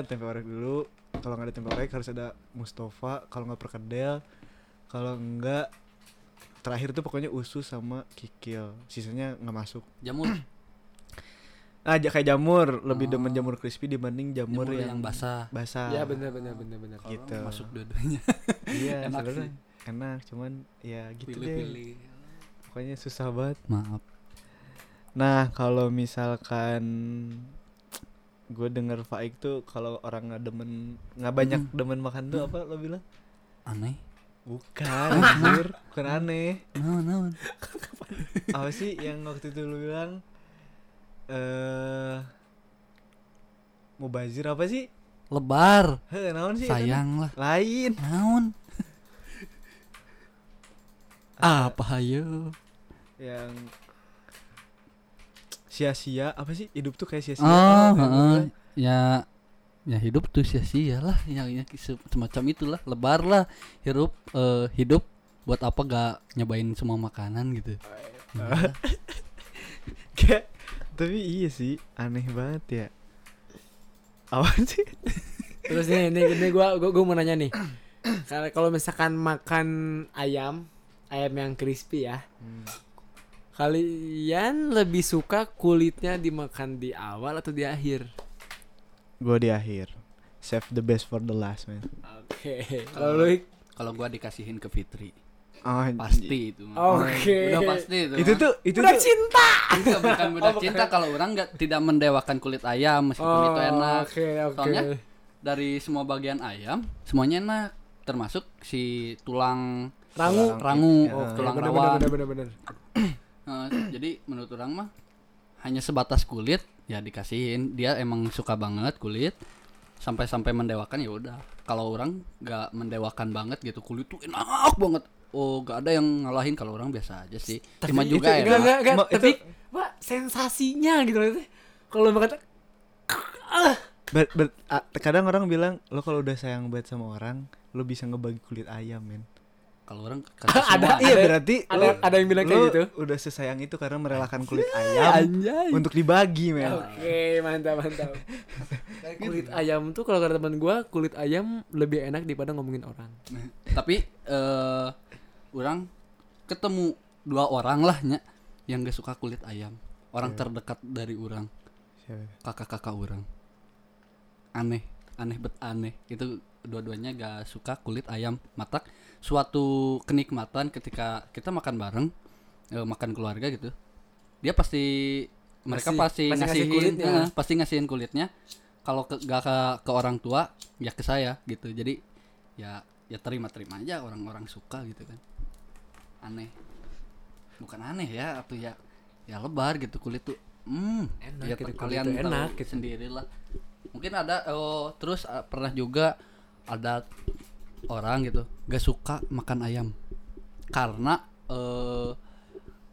eh, tempe orek dulu kalau nggak ada tempe orek harus ada Mustafa kalau nggak perkedel kalau enggak terakhir tuh pokoknya usus sama kikil sisanya nggak masuk
jamur
ah ja- kayak jamur lebih
Oh.
demen jamur crispy dibanding jamur,
jamur yang, basah Iya,
basah
Ya benar benar benar benar.
Kalau
Gitu.
masuk dua-duanya
iya
Enak
sebenarnya
sih.
enak cuman ya [laughs] gitu deh
pilih-pilih
pokoknya susah banget
maaf
Nah, kalau misalkan gue denger Faik tuh kalau orang nggak demen nggak banyak
Hmm.
demen makan tuh apa lo bilang?
aneh
Bukan,
[laughs]
anjir. bukan aneh.
no no
Apa sih yang waktu itu lo bilang eh mubazir apa sih?
Lebar.
Heh, naon sih?
Sayang lah.
Lain.
Naon? Apa hayo?
Yang sia-sia apa sih? Hidup tuh kayak sia-sia.
Oh,
Yang
heeh.
gua-
ya ya hidup tuh sia-sia lah yang yang se- semacam itulah lebar lah hidup eh, hidup buat apa gak nyobain semua makanan gitu Iyalah.
[laughs] Kayak- tapi iya sih, aneh banget ya. Apa [laughs] sih?
Terus nih, nih, nih gua, gua, gua mau nanya nih. Kalau kalau misalkan makan ayam, ayam yang crispy ya.
Hmm.
Kalian lebih suka kulitnya dimakan di awal atau di akhir?
Gue di akhir. Save the best for the last, man.
Oke. Kalau lu Ik?
kalau gua dikasihin ke Fitri
Oh,
pasti itu mah.
Oh, Oke.
udah pasti itu
Itu
mah.
tuh itu
Udah
tuh
cinta.
Enggak,
[laughs]
bukan
Oh,
budak cinta kalau orang nggak tidak mendewakan kulit ayam meskipun itu enak
Oh, Oke, oke.
Soalnya dari semua bagian ayam semuanya enak termasuk si tulang
Rangu.
rangu
Oke,
tulang
Ya, bener,
rawan
bener, bener, bener, bener.
Eh, jadi menurut orang mah hanya sebatas kulit ya dikasihin dia emang suka banget kulit sampai-sampai mendewakan ya udah kalau orang nggak mendewakan banget gitu kulit tuh enak banget oh gak ada yang ngalahin kalau orang biasa aja sih cuma
Itu-
juga
enggak,
ya,
enggak,
enak
enggak.
Ma- itu-
Tapi Pak, sensasinya gitu maksudnya. Kalau makan
Ber- ber- a- kadang orang bilang lo kalau udah sayang banget sama orang, lo bisa ngebagi kulit ayam, men.
kalau orang kasih
[laughs]
semua
Ada-
Iya, berarti
ada
lo-
ada yang bilang kayak
lo
gitu.
Udah sesayang itu karena merelakan kulit ayam
"Ya, Anjay.
untuk dibagi, men.
Oke, mantap, mantap. kulit ayam tuh kalau kata teman gua, kulit ayam lebih enak daripada ngomongin orang.
tapi eh orang ketemu dua orang lah nya yang gak suka kulit ayam orang
Iya.
terdekat dari orang kakak-kakak orang aneh aneh bet aneh itu dua-duanya gak suka kulit ayam matak suatu kenikmatan ketika kita makan bareng eh, makan keluarga gitu dia pasti mereka
Pasti- pasti
pasti,
ngasih
ngasihin
kulitnya.
eh, pasti ngasihin kulitnya kalau ke, gak ke, ke orang tua ya ke saya gitu jadi ya ya terima terima aja orang-orang suka gitu kan aneh bukan aneh ya atau ya ya lebar gitu kulit tuh hmm
Enak
ya,
gitu, kulit
kalian
tuh
tahu
enak gitu.
sendiri lah mungkin ada oh, terus uh, pernah juga ada orang gitu gak suka makan ayam karena eh,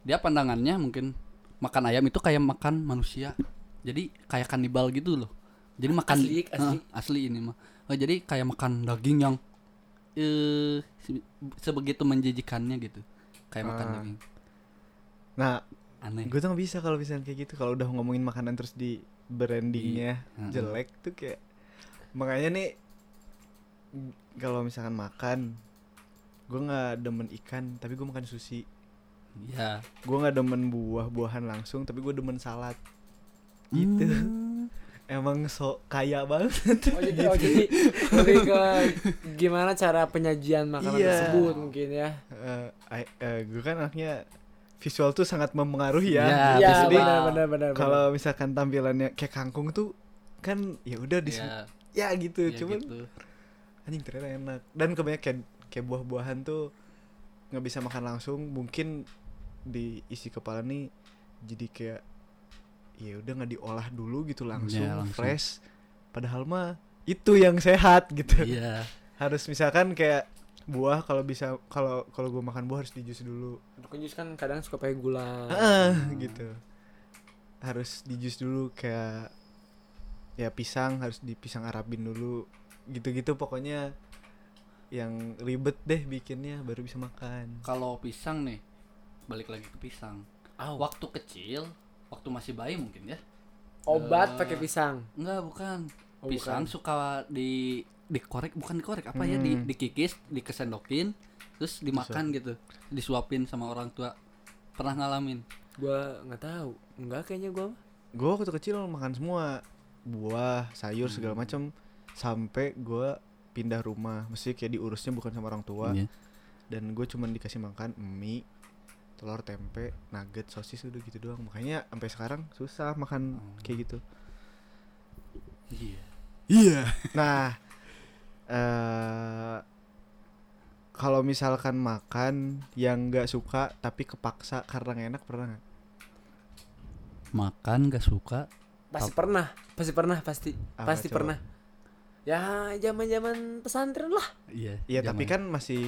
dia pandangannya mungkin makan ayam itu kayak makan manusia jadi kayak kanibal gitu loh jadi makan
Asli, asli.
Eh, asli ini mah Eh, jadi kayak makan daging yang eh se- sebegitu menjijikannya gitu kayak makan
Ah.
daging
Nah,
aneh
gue tuh gak bisa kalau misalnya kayak gitu kalau udah ngomongin makanan terus di [laughs] brandingnya
Iya.
jelek tuh kayak makanya nih m- kalau misalkan makan gue nggak demen ikan tapi gue makan sushi
ya
gue nggak demen buah-buahan langsung tapi gue demen salad gitu
Hmm.
[laughs] emang sok kaya banget
[laughs] Oh jadi, oh, jadi lebih ke gimana cara penyajian makanan
Iya.
tersebut mungkin ya.
Eh, gue kan anaknya visual tuh sangat mempengaruhi ya
Iya,
Iya,
pasti.
benar benar benar. benar.
kalau misalkan tampilannya kayak kangkung tuh kan ya udah di
ya,
ya gitu
ya
cuman [laughs]
gitu.
anjing ternyata enak dan kebanyakan kayak, kayak buah-buahan tuh nggak bisa makan langsung mungkin di isi kepala nih jadi kayak ya udah nggak diolah dulu gitu langsung,
Ya, langsung.
fresh padahal mah itu yang sehat gitu
Iya.
harus misalkan kayak buah kalau bisa kalau kalau gue makan buah harus di jus dulu
Kunjus kan kadang suka pakai gula.
ah gitu harus di jus dulu kayak ya pisang harus di pisang arabin dulu gitu-gitu pokoknya yang ribet deh bikinnya baru bisa makan
Kalau pisang nih, balik lagi ke pisang. Waktu kecil, waktu masih bayi mungkin ya?
Obat pakai pisang.
Enggak, bukan.
Oh,
pisang suka di dikorek, bukan dikorek, apa ya? Di,
Hmm.
dikikis, dikesendokin, terus dimakan gitu, disuapin sama orang tua. Pernah ngalamin?
Gua nggak tahu. Enggak kayaknya gua. mah.
gue waktu kecil makan semua buah sayur segala macam sampai gue pindah rumah mesti kayak diurusnya bukan sama orang tua
Iya.
dan gue cuman dikasih makan mie telur tempe nugget sosis udah gitu doang makanya sampai sekarang susah makan kayak gitu
Iya.
Iya. Nah, eh kalau misalkan makan yang nggak suka tapi kepaksa karena nggak enak pernah nggak?
Makan gak suka
Pasti pernah, pasti pernah, pasti,
Apa,
pasti
coba?
pernah. Ya zaman-zaman pesantren lah.
Iya.
Iya tapi
zaman-
kan masih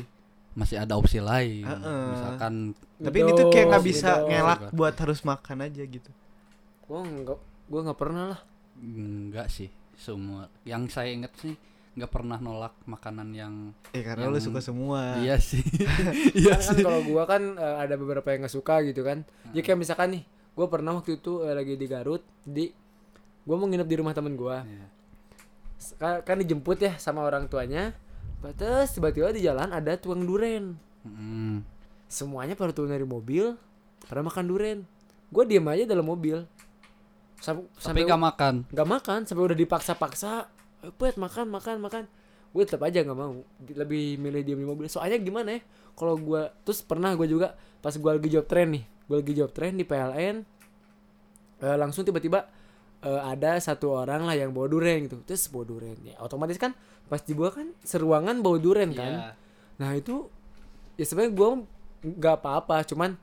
masih ada opsi lain.
Heeh.
Misalkan
tapi ini tuh kayak nggak
Midos,
bisa
midos.
ngelak buat harus makan aja gitu.
Gua enggak, gua nggak pernah lah.
enggak sih semua yang saya ingat sih nggak pernah nolak makanan yang
Eh karena lu
Yang-
suka semua.
iya sih iya
Karena kan
sih
kalau gua kan eh, ada beberapa yang nggak suka gitu kan. Ya kayak misalkan nih, gua pernah waktu itu eh, lagi di Garut, di gua mau nginep di rumah temen gua.
Iya.
Ka- Kan dijemput ya sama orang tuanya. Terus tiba-tiba di jalan ada tuang duren.
Mm.
Hmm. semuanya pada turun dari mobil pada makan durian gue diem aja dalam mobil Sam- sampai
tapi nggak makan
nggak makan sampai udah dipaksa-paksa "Ayo, pet makan makan makan gue tetap aja nggak mau Di- lebih milih diem di mobil soalnya gimana ya kalau gue terus pernah gue juga pas gue lagi job train nih gue lagi job train di PLN eh, langsung tiba-tiba eh, ada satu orang lah yang bawa durian gitu terus bawa durian ya otomatis kan pas dibawa kan seruangan bawa durian kan
Iya.
Nah itu ya sebenarnya gue nggak apa-apa, cuman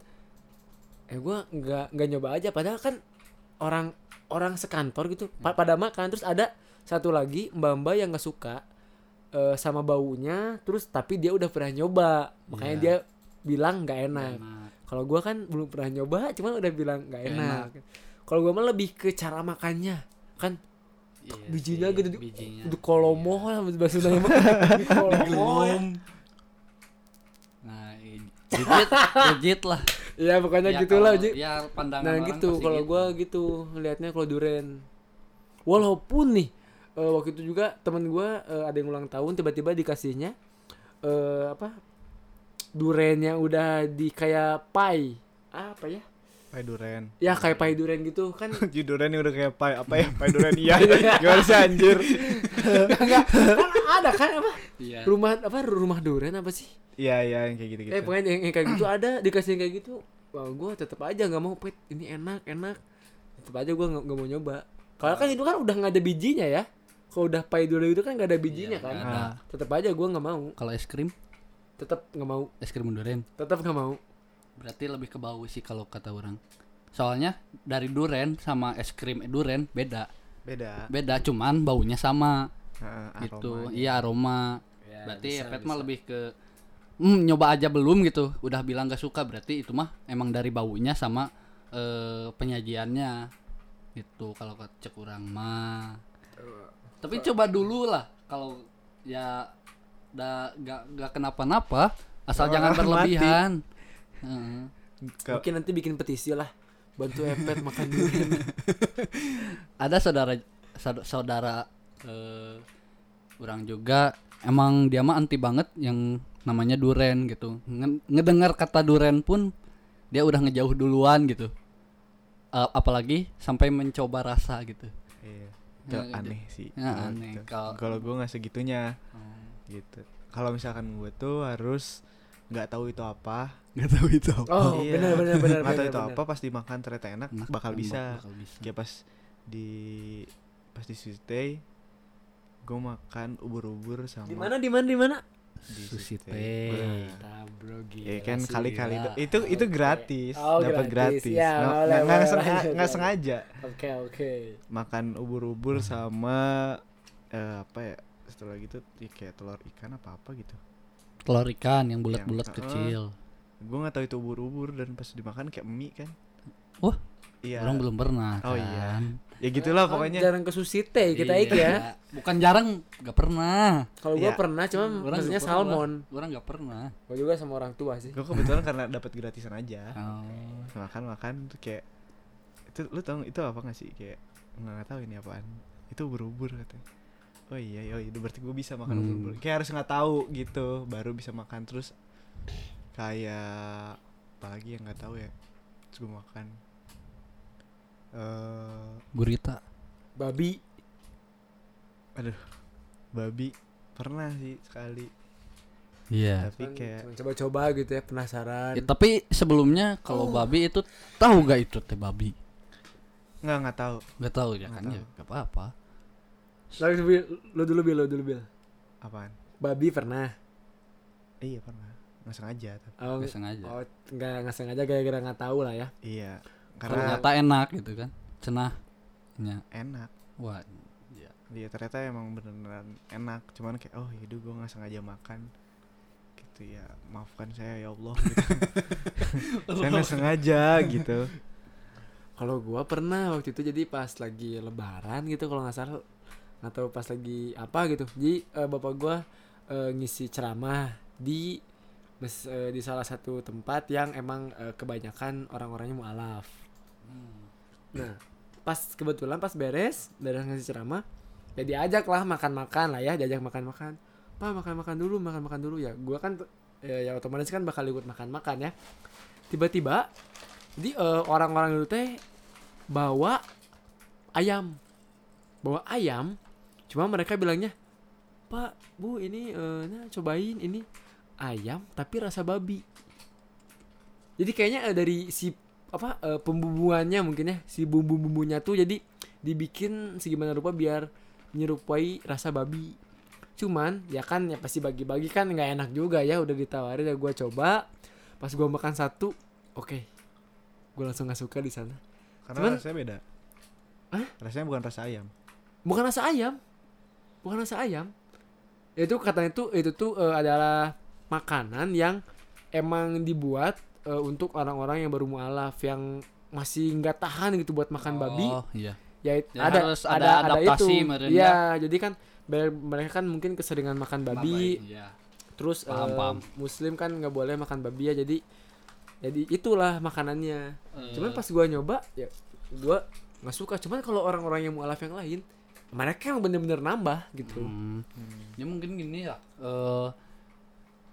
eh gue nggak nggak nyoba aja. Padahal kan orang orang sekantor gitu pa- pada makan terus ada satu lagi mbak mbak yang nggak suka eh, sama baunya, terus tapi dia udah pernah nyoba, makanya
Iya.
dia bilang nggak enak.
Enak.
Kalau gue kan belum pernah nyoba, cuman udah bilang nggak
Nggak
enak. Kalau gue mah lebih ke cara makannya kan
Iya
bijinya
sih,
gitu di,
bijinya.
di kolomoh lah bahasa Sundanya mah. Di kolomoh ya.
nah i- legit [laughs] legit lah
Iya pokoknya
Ya,
gitulah
kalau-
Ji.
ya pandangan
Nah
orang
gitu
pasti
kalau gua gitu ngelihatnya kalau duren. Walaupun nih eh, waktu itu juga teman gua eh, ada yang ulang tahun tiba-tiba dikasihnya eh apa? Durennya udah di kayak pai. Apa ya?
Pai [laughs] duren.
Ya kayak pai duren gitu kan.
Juduran udah kayak pai apa ya? Pai duren
[laughs]
iya. Gimana sih anjir?
Enggak, kan ada kan [laughs] apa?
Iya.
Rumah apa rumah duren apa sih?
Iya iya yang kayak gitu-gitu.
Eh pokoknya yang, yang kayak gitu ada dikasih yang kayak gitu. Wah gue tetap aja nggak mau pet ini enak enak. Tetap aja gue nggak nggak mau nyoba. Kalau kan itu kan udah nggak ada bijinya ya. Kalau udah pai dulu itu kan nggak ada bijinya
Iya,
kan.
nggak
Nah.
ada.
Tetap aja gue nggak mau.
kalau es krim
Tetap nggak mau.
es krim durian
Tetap nggak mau.
berarti lebih ke bau sih kalau kata orang soalnya dari duren sama es krim duren beda
Beda. Ah,
beda cuman baunya sama
Heeh,
gitu
aromanya.
iya aroma berarti Epet mah lebih ke "Hmm, nyoba aja belum gitu udah bilang gak suka berarti itu mah emang dari baunya sama eh, penyajiannya gitu kalau ke- cek kurang mah tapi coba dulu lah kalau ya da, gak, gak kenapa-napa
Oh,
asal
[laughs]
jangan
mati.
berlebihan Heeh.
Ke-
Mungkin nanti bikin petisi lah. Bantu Epet makan durian.
ada saudara saud- saudara eh, orang juga emang dia mah anti banget yang namanya duren gitu Nge- ngedengar kata duren pun dia udah ngejauh duluan gitu A- apalagi sampai mencoba rasa gitu
Iya. Itu
Ya,
aneh sih.
Ya,
kalau
aneh.
gitu.
Kalau-
Kalau gue nggak segitunya gitu. Kalau misalkan gue tuh harus nggak tahu itu apa.
nggak tahu itu apa.
Oh
Iya.
benar benar benar.
Nggak tahu
benar,
itu
benar.
apa pas dimakan ternyata enak
Enak,
bakal
enak,
bisa. Ya.
bakal bisa.
Kayak pas di pas di Tuesday gue makan ubur-ubur sama
[laughs] Di mana di mana di mana?
di Tuesday.
Sushi teh. Iya.
Nah,
Tabro
Ya kan
sih,
kali-kali
gila.
do- itu itu gratis,
Iya, Oh,
dapat
gratis.
gratis.
Ya,
Nggak-
boleh,
nggak- nggak
boleh,
sengaja-
lanjut,
nggak
lanjut.
sengaja
Oke oke.
makan ubur-ubur sama eh, apa ya? Setelah gitu ya kayak telur ikan apa apa gitu.
telur ikan yang bulat-bulat
Yang-
kecil
Gue nggak tahu itu ubur-ubur dan pas dimakan kayak mie kan.
Wah,
Iya.
orang belum pernah
Oh,
kan.
iya. Ya gitulah pokoknya.
Jarang ke susite kita ik
Iya.
ya.
bukan jarang nggak pernah
Kalau gua
Iya.
pernah cuma
Orang
maksudnya
nggak pernah.
salmon.
orang nggak pernah
Gua juga sama orang tua sih.
Gue kebetulan karena dapat gratisan aja.
oh.
makan makan tuh kayak itu lu tau itu apa gak sih kayak nggak nggak tahu ini apaan itu ubur-ubur katanya oh iya iya itu berarti gue bisa makan
Hmm.
ubur-ubur kayak harus nggak tahu gitu baru bisa makan terus kayak apa lagi yang nggak tahu ya terus gue makan eh
gurita
Babi.
babi pernah sih sekali
iya
tapi
Cuman-
kayak
cuman coba-coba gitu ya penasaran.
Ya, tapi sebelumnya kalau babi itu tahu gak itu teh babi?
nggak nggak tahu
Gak tahu ya
Nggak
kan
tahu.
ya gak apa-apa.
Lalu dulu lu dulu bil, lu dulu bil.
apaan
Babi pernah.
Eh, iya pernah nggak sengaja tapi
Oh,
Gak sengaja.
oh nggak nggak sengaja gara-gara nggak tahu lah ya.
iya karena
Ternyata enak gitu kan. Cenah. nya
enak
wah
dia ternyata emang beneran enak cuman kayak oh yaudah gue nggak sengaja makan gitu ya maafkan saya ya Allah [laughs] gitu. saya nggak sengaja gitu
Kalau gua pernah waktu itu jadi pas lagi lebaran gitu kalau nggak salah atau pas lagi apa gitu. Jadi eh, bapak gua eh, ngisi ceramah di mes- eh, di salah satu tempat yang emang eh, kebanyakan orang-orangnya mualaf. Nah, pas kebetulan pas beres beres ngasih ceramah, ya diajak lah makan-makan lah ya, diajak makan-makan. Pak makan-makan dulu, makan-makan dulu ya. Gua kan eh, ya otomatis kan bakal ikut makan-makan ya. Tiba-tiba jadi eh, orang-orang itu teh bawa ayam. Bawa ayam. Cuma mereka bilangnya, "Pak, Bu, ini eh, nah, cobain ini ayam tapi rasa babi." Jadi kayaknya eh, dari si apa eh, pembubuhannya mungkin ya, si bumbu-bumbunya tuh jadi dibikin segimana rupa biar menyerupai rasa babi. Cuman ya kan ya pasti bagi-bagi kan nggak enak juga ya udah ditawarin ya gua coba. Pas gua makan satu, oke, gue langsung nggak suka di sana
karena
Cuman-
rasanya beda
Hah?
rasanya bukan rasa ayam
bukan rasa ayam bukan rasa ayam itu katanya tuh itu tuh eh, adalah makanan yang emang dibuat eh, untuk orang-orang yang baru mualaf yang masih nggak tahan gitu buat makan babi
oh iya
ya, it-
Ya,
ada
harus
ada
ada
ada
adaptasi
itu
meren,
ya jadi kan ber- mereka kan mungkin keseringan makan babi
iya
terus
Paham,
eh,
paham.
muslim kan nggak boleh makan babi ya jadi jadi itulah makanannya
Hmm.
cuman pas gua nyoba ya gua nggak suka cuman kalau orang-orang yang mualaf yang lain mereka yang bener-bener nambah gitu
Hmm. Ya mungkin gini ya. eh,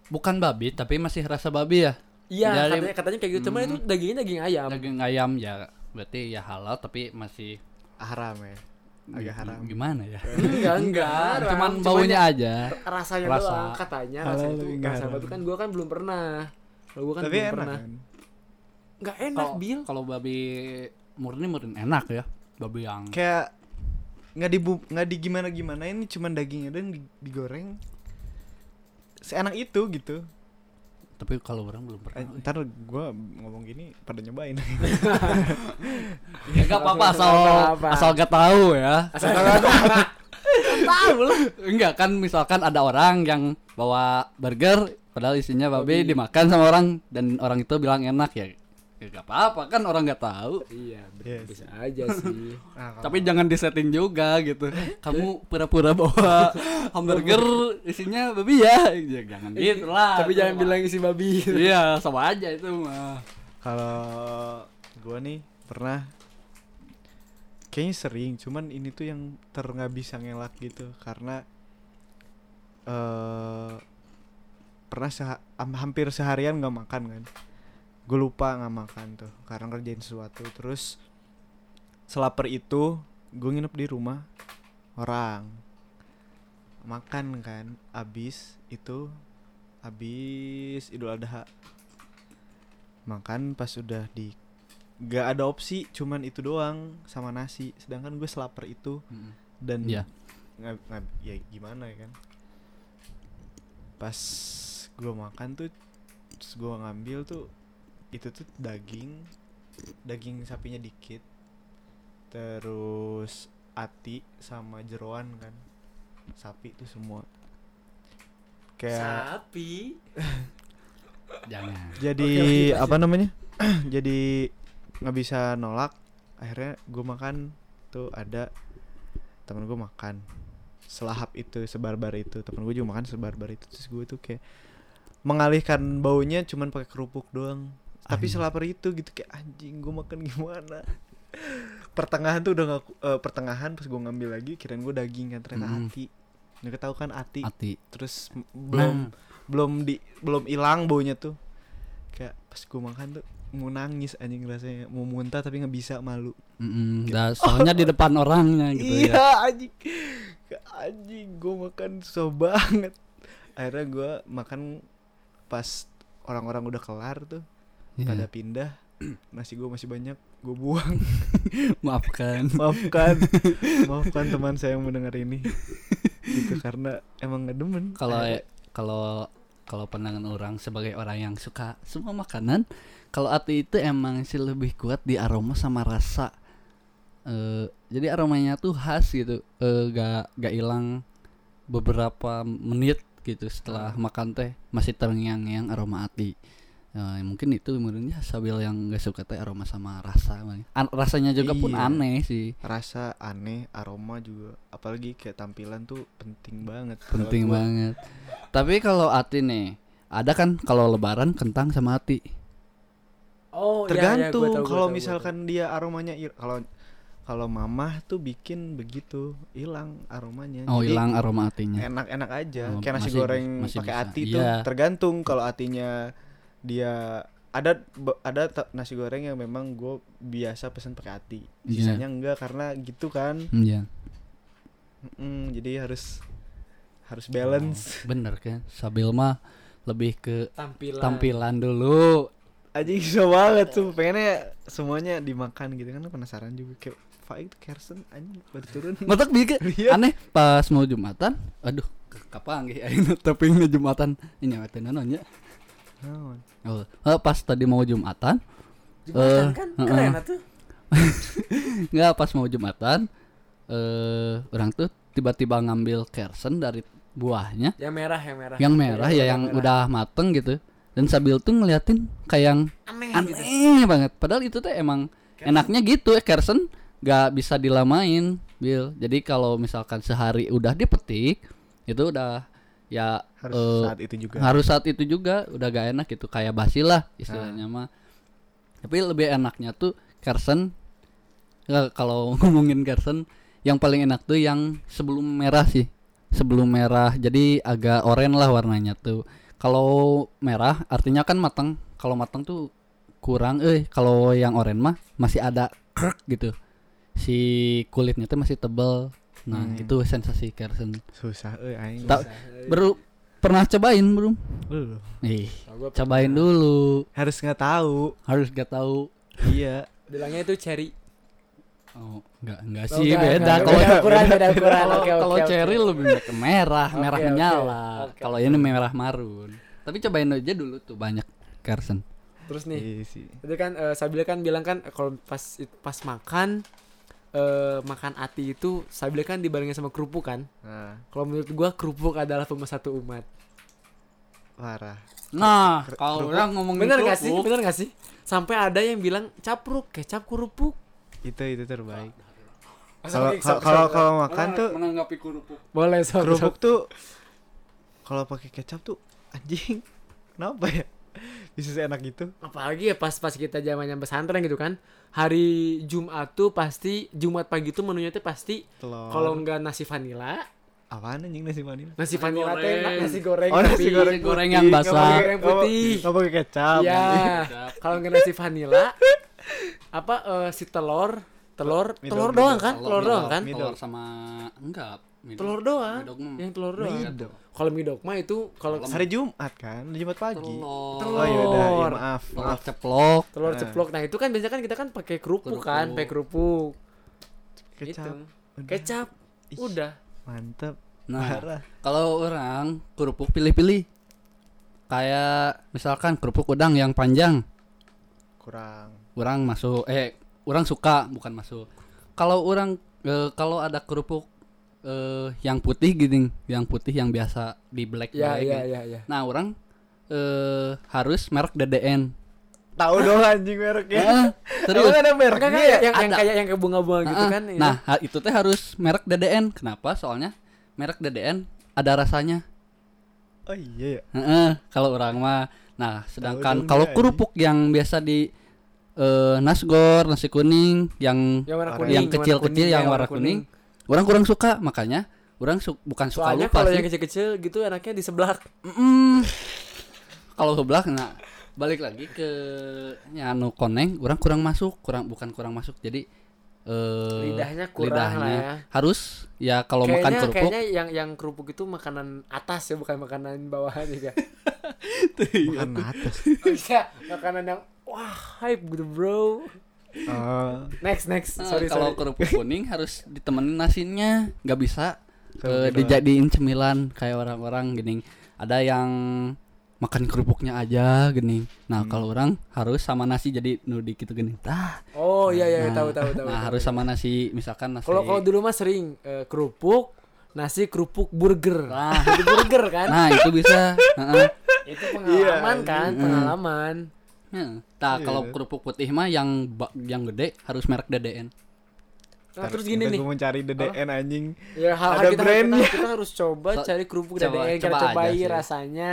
bukan babi tapi masih rasa babi ya.
iya
Dari-
katanya katanya kayak gitu cuman itu dagingnya daging ayam
Hmm. Daging ayam ya berarti ya halal tapi masih
haram ya agak haram
Gimana ya?
[laughs] enggak enggak Ram.
Cuman baunya
ya
aja.
rasanya
Rasa.
doang katanya
Halal
rasa itu
lebih nggak
rasa
haram.
babi kan gua kan belum pernah kalau gua kan
tapi
belum
enak
pernah
kan
nggak enak
Kalau
bil
kalau babi murni murni enak ya. Babi yang
kayak nggak di nggak di gimana gimana ini cuman dagingnya dan digoreng seenak itu gitu
tapi kalau orang belum
Eh,
pernah.
ntar gua ngomong gini pada nyobain
[laughs]
Nah,
Ya enggak apa-apa asal
Nggak apa-apa.
asal gak tahu ya.
asal kalau
[laughs] tahu lah. Enggak kan misalkan ada orang yang bawa burger padahal isinya babi,
Babi.
dimakan sama orang dan orang itu bilang enak ya. Ya gak apa-apa kan orang nggak tahu.
iya ber-
Yes.
bisa aja
[laughs]
sih
Nah, kalau-
Tapi jangan disetting juga gitu. Kamu pura-pura
[laughs]
bawa hamburger isinya babi ya. Ya, jangan gitu lah.
tapi
Itu
jangan
mah.
bilang isi babi
Iya, sama aja itu mah.
Kalau gua nih pernah kayaknya sering, cuman ini tuh yang ter nggak bisa ngelak gitu karena eh pernah seha- am- hampir seharian nggak makan kan. Gue lupa nggak makan tuh karena ngerjain sesuatu terus selaper itu gue nginep di rumah orang makan kan abis itu abis idul adha makan pas udah di gak ada opsi cuman itu doang sama nasi sedangkan gue selaper itu dan
Iya.
nggak- nggak- ya gimana ya kan pas gue makan tuh terus gue ngambil tuh itu tuh daging daging sapinya dikit terus ati sama jeroan kan sapi tuh semua kayak
sapi
Jangan.
jadi
Oke, oke, lanjut.
apa namanya [clears throat] jadi nggak bisa nolak akhirnya gue makan tuh ada temen gue makan selahap itu sebarbar itu temen gue juga makan sebarbar itu terus gue tuh kayak mengalihkan baunya cuman pakai kerupuk doang tapi selaper itu gitu kayak anjing gue makan gimana [laughs] pertengahan tuh udah nggak ku- eh, pertengahan pas gue ngambil lagi kirain gue daging kan ternyata
Hmm.
Mm.
hati nggak tahu kan hati
Ati.
terus
nah,
m- belum belum di belum hilang baunya tuh kayak pas gue makan tuh mau nangis anjing rasanya mau muntah tapi nggak bisa malu
Nah, Mm-mm, dah, soalnya di depan orangnya gitu ya.
iya anjing Kayak anjing gue makan susah banget akhirnya gue makan pas orang-orang udah kelar tuh
Iya.
pada pindah nasi gue masih banyak gue buang [laughs]
Maafkan.
maafkan maafkan teman saya yang mendengar ini gitu karena emang nggak demen
kalau
Akhirnya-
kalau kalau pandangan orang sebagai orang yang suka semua makanan kalau ati itu emang sih lebih kuat di aroma sama rasa eh jadi aromanya tuh khas gitu Eh, gak gak hilang beberapa menit gitu setelah makan teh masih terngiang-ngiang aroma ati Eh, mungkin itu menurutnya sabil yang gak suka teh aroma sama rasa An- rasanya juga pun
Iya.
aneh sih
rasa aneh aroma juga apalagi kayak tampilan tuh penting banget kalau
Oh,
gua.
penting
iya,
banget tapi kalau ati nih ada kan kalau lebaran kentang sama ati
Oh, iya, iya, gua
tergantung
tahu, gua
kalau
tahu, gua
misalkan dia aromanya il- kalau kalau mamah tuh bikin begitu hilang aromanya
oh
Hmm, Jadi
hilang aroma atinya
enak-enak aja
Oh,
kayak nasi
masih-
goreng
masih
pakai
bisa.
ati tuh
Iya.
tergantung kalau atinya dia ada be- ada te- nasi goreng yang memang gue biasa pesen pakai ati
Iya.
sisanya enggak karena gitu kan
Hmm, iya.
Mm, jadi harus harus balance
bener kan sabil mah lebih ke
tahu. tampilan.
tampilan dulu
aja bisa banget tuh pengennya semuanya dimakan gitu kan penasaran juga kayak Faik tuh Kersen anjing baru turun [laughs]
Matak bikin
Iya.
aneh pas mau jumatan aduh ke- kapan ge ayeuna tepingna jumatan ini mah teh naon nya
Naon?
oh eh, pas tadi mau jumatan
Jembatan
Eh,
kan
heeh.
keren atuh.
nggak pas mau jumatan eh orang tuh tiba-tiba ngambil kersen dari buahnya
Yang merah, yang merah.
yang merah ya yang
merah.
udah mateng gitu dan Sabil tuh ngeliatin kayak yang
aneh, gitu.
aneh banget padahal itu tuh emang enaknya gitu ya Kersen nggak bisa dilamain Bill jadi kalau misalkan sehari udah dipetik itu udah ya
harus
eh,
saat itu juga
harus saat itu juga udah gak enak gitu kayak basi lah
Ah.
istilahnya mah tapi lebih enaknya tuh Kersen ya, kalau [laughs] ngomongin Kersen yang paling enak tuh yang sebelum merah sih sebelum merah jadi agak oranye lah warnanya tuh kalau merah artinya kan matang kalau matang tuh kurang eh kalau yang oranye mah masih ada krek gitu si kulitnya tuh masih tebel nah
Hmm.
itu sensasi Kersen
susah eh aing
Ta- Baru pernah cobain belum?
Lu.
Ih,
Oh, gua
cobain dulu.
harus nggak tahu
Harus gak tahu.
iya
bilangnya itu cherry.
Oh, enggak enggak
Oh,
sih
enggak,
beda.
enggak,
Kalau
beda
[laughs]
ukuran, beda ukuran.
kalau
Oke, oke,
kalau
oke.
cherry lebih ke merah,
Oke,
merah
oke,
menyala.
oke,
Kalau ini merah marun. Tapi cobain aja dulu tuh banyak Carson.
Terus nih,
iya sih
Itu kan eh, Sabila kan bilang kan eh, kalau pas pas makan eh makan ati itu Sabila kan dibarengin sama kerupuk kan.
nah
Kalau menurut gua kerupuk adalah pemersatu umat.
parah
Nah,
Ker-
kalau
kerupuk.
orang ngomongin
Bener gak sih?
kerupuk,
Bener gak sih? Sampai ada yang bilang capruk, kecap kerupuk.
itu itu terbaik kalau
Sorry,
kalau
sorry,
kalau-
sorry.
kalau makan tuh
menanggapi kerupuk.
boleh sorry,
kerupuk
sorry.
tuh kalau pakai kecap tuh anjing kenapa ya bisa seenak gitu
apalagi ya pas pas kita zamannya pesantren gitu kan. Hari Jumat tuh pasti Jumat pagi tuh menunya tuh pasti
telur
kalau nggak nasi vanila,
apaan anjing nasi manis
nasi
Nasi
vanila teh
goreng.
nasi goreng.
Oh, nasi
tapi-
goreng,
nasi goreng
putih.
yang
Nggak
basah.
pakai-
Goreng putih.
nggak pakai kecap
Iya.
anjing.
Kalau nggak nasi vanila, apa eh, si telur, telur,
Middle,
telur
middle.
doang kan? Telur
Kalau
doang
midok-
kan?
mid-
Telur sama enggak. midok-
Telur doang.
midok mah-
Yang telur doang.
Midok.
Kalau midok mah itu kalau
Kalau
hari Jumat kan hari Jumat pagi
Telur.
Telur.
oh ya udah ya
Telur.
maaf
Telur
maaf
ceplok.
telur
Ah.
ceplok. Nah, itu kan biasanya kan kita kan pakai kerupuk kan,
Kerupuk.
pakai kerupuk. gitu.
kecap
Itu.
Udah.
Kecap.
Ih,
Udah.
mantep
Nah,
parah
Kalau orang kerupuk pilih-pilih. Kayak misalkan kerupuk udang yang panjang,
kurang
orang masuk eh orang suka bukan masuk. Kalau orang eh, kalau ada kerupuk eh, yang putih gini, yang putih yang biasa di black
Ya,
black
ya,
gitu.
ya, ya.
Nah, orang eh, harus merek DDN. [laughs]
tahu dong anjing mereknya
Eh, serius.
Emang ada
Enggak
mereknya
enggak
ya?
yang, yang
Ada.
kayak yang ke bunga-bunga gitu
Ah,
kan. ya.
Nah, ha- itu teh harus merek DDN. Kenapa? Soalnya merek DDN ada rasanya.
oh iya ya
Heeh, kalau orang mah. Nah,
dong
sedangkan kalau
dia,
kerupuk yang biasa di eh, nasgor, nasi kuning, yang
yang warna kuning, warna
yang
yang kecil-kecil
kuning,
yang warna kuning, orang kurang suka. Makanya orang su- bukan suka
Soalnya
lupa
kalau
sih.
yang kecil-kecil gitu anaknya di sebelah.
Mm-mm. Kalau kebelah nah balik lagi ke nyanu koneng, orang kurang masuk, kurang bukan kurang masuk. Jadi eh,
Lidahnya kurang lah ya.
harus ya kalau makan
Kayaknya
kerupuk
kayaknya yang yang kerupuk itu makanan atas ya bukan makanan bawahan [laughs] juga.
makan atas
Iya, makanan yang wah hype gitu bro.
Oh,
Next next,
Nah,
sorry
kalau
sorry. [laughs]
kerupuk kuning harus ditemenin nasinya, nggak bisa
Kerupuk
eh,
doang.
dijadiin cemilan kayak orang-orang gini. Ada yang makan kerupuknya aja gini. Nah,
Hmm.
kalau orang harus sama nasi jadi nudik gitu gini. Tah.
Oh iya iya
nah,
tahu tahu tahu.
Nah,
tahu.
harus sama nasi misalkan nasi.
Kalau kalau dulu mah sering eh, kerupuk, nasi kerupuk burger. [laughs]
Nah,
Jadi burger kan?
nah, itu bisa. Heeh.
Itu pengalaman
Iya,
kan,
iya.
pengalaman. Nah,
Heeh. Nah, Tah,
Iya.
kalau kerupuk putih mah yang ba- yang gede harus merek DDN.
Nah, terus gini nih.
Gue mau cari DDN anjing.
Ya hal
Ada
kita, kita,
brandnya.
kita harus coba
So-
cari kerupuk
coba-
DDN kita
coba aja
cobain
sih. Hmm.
rasanya.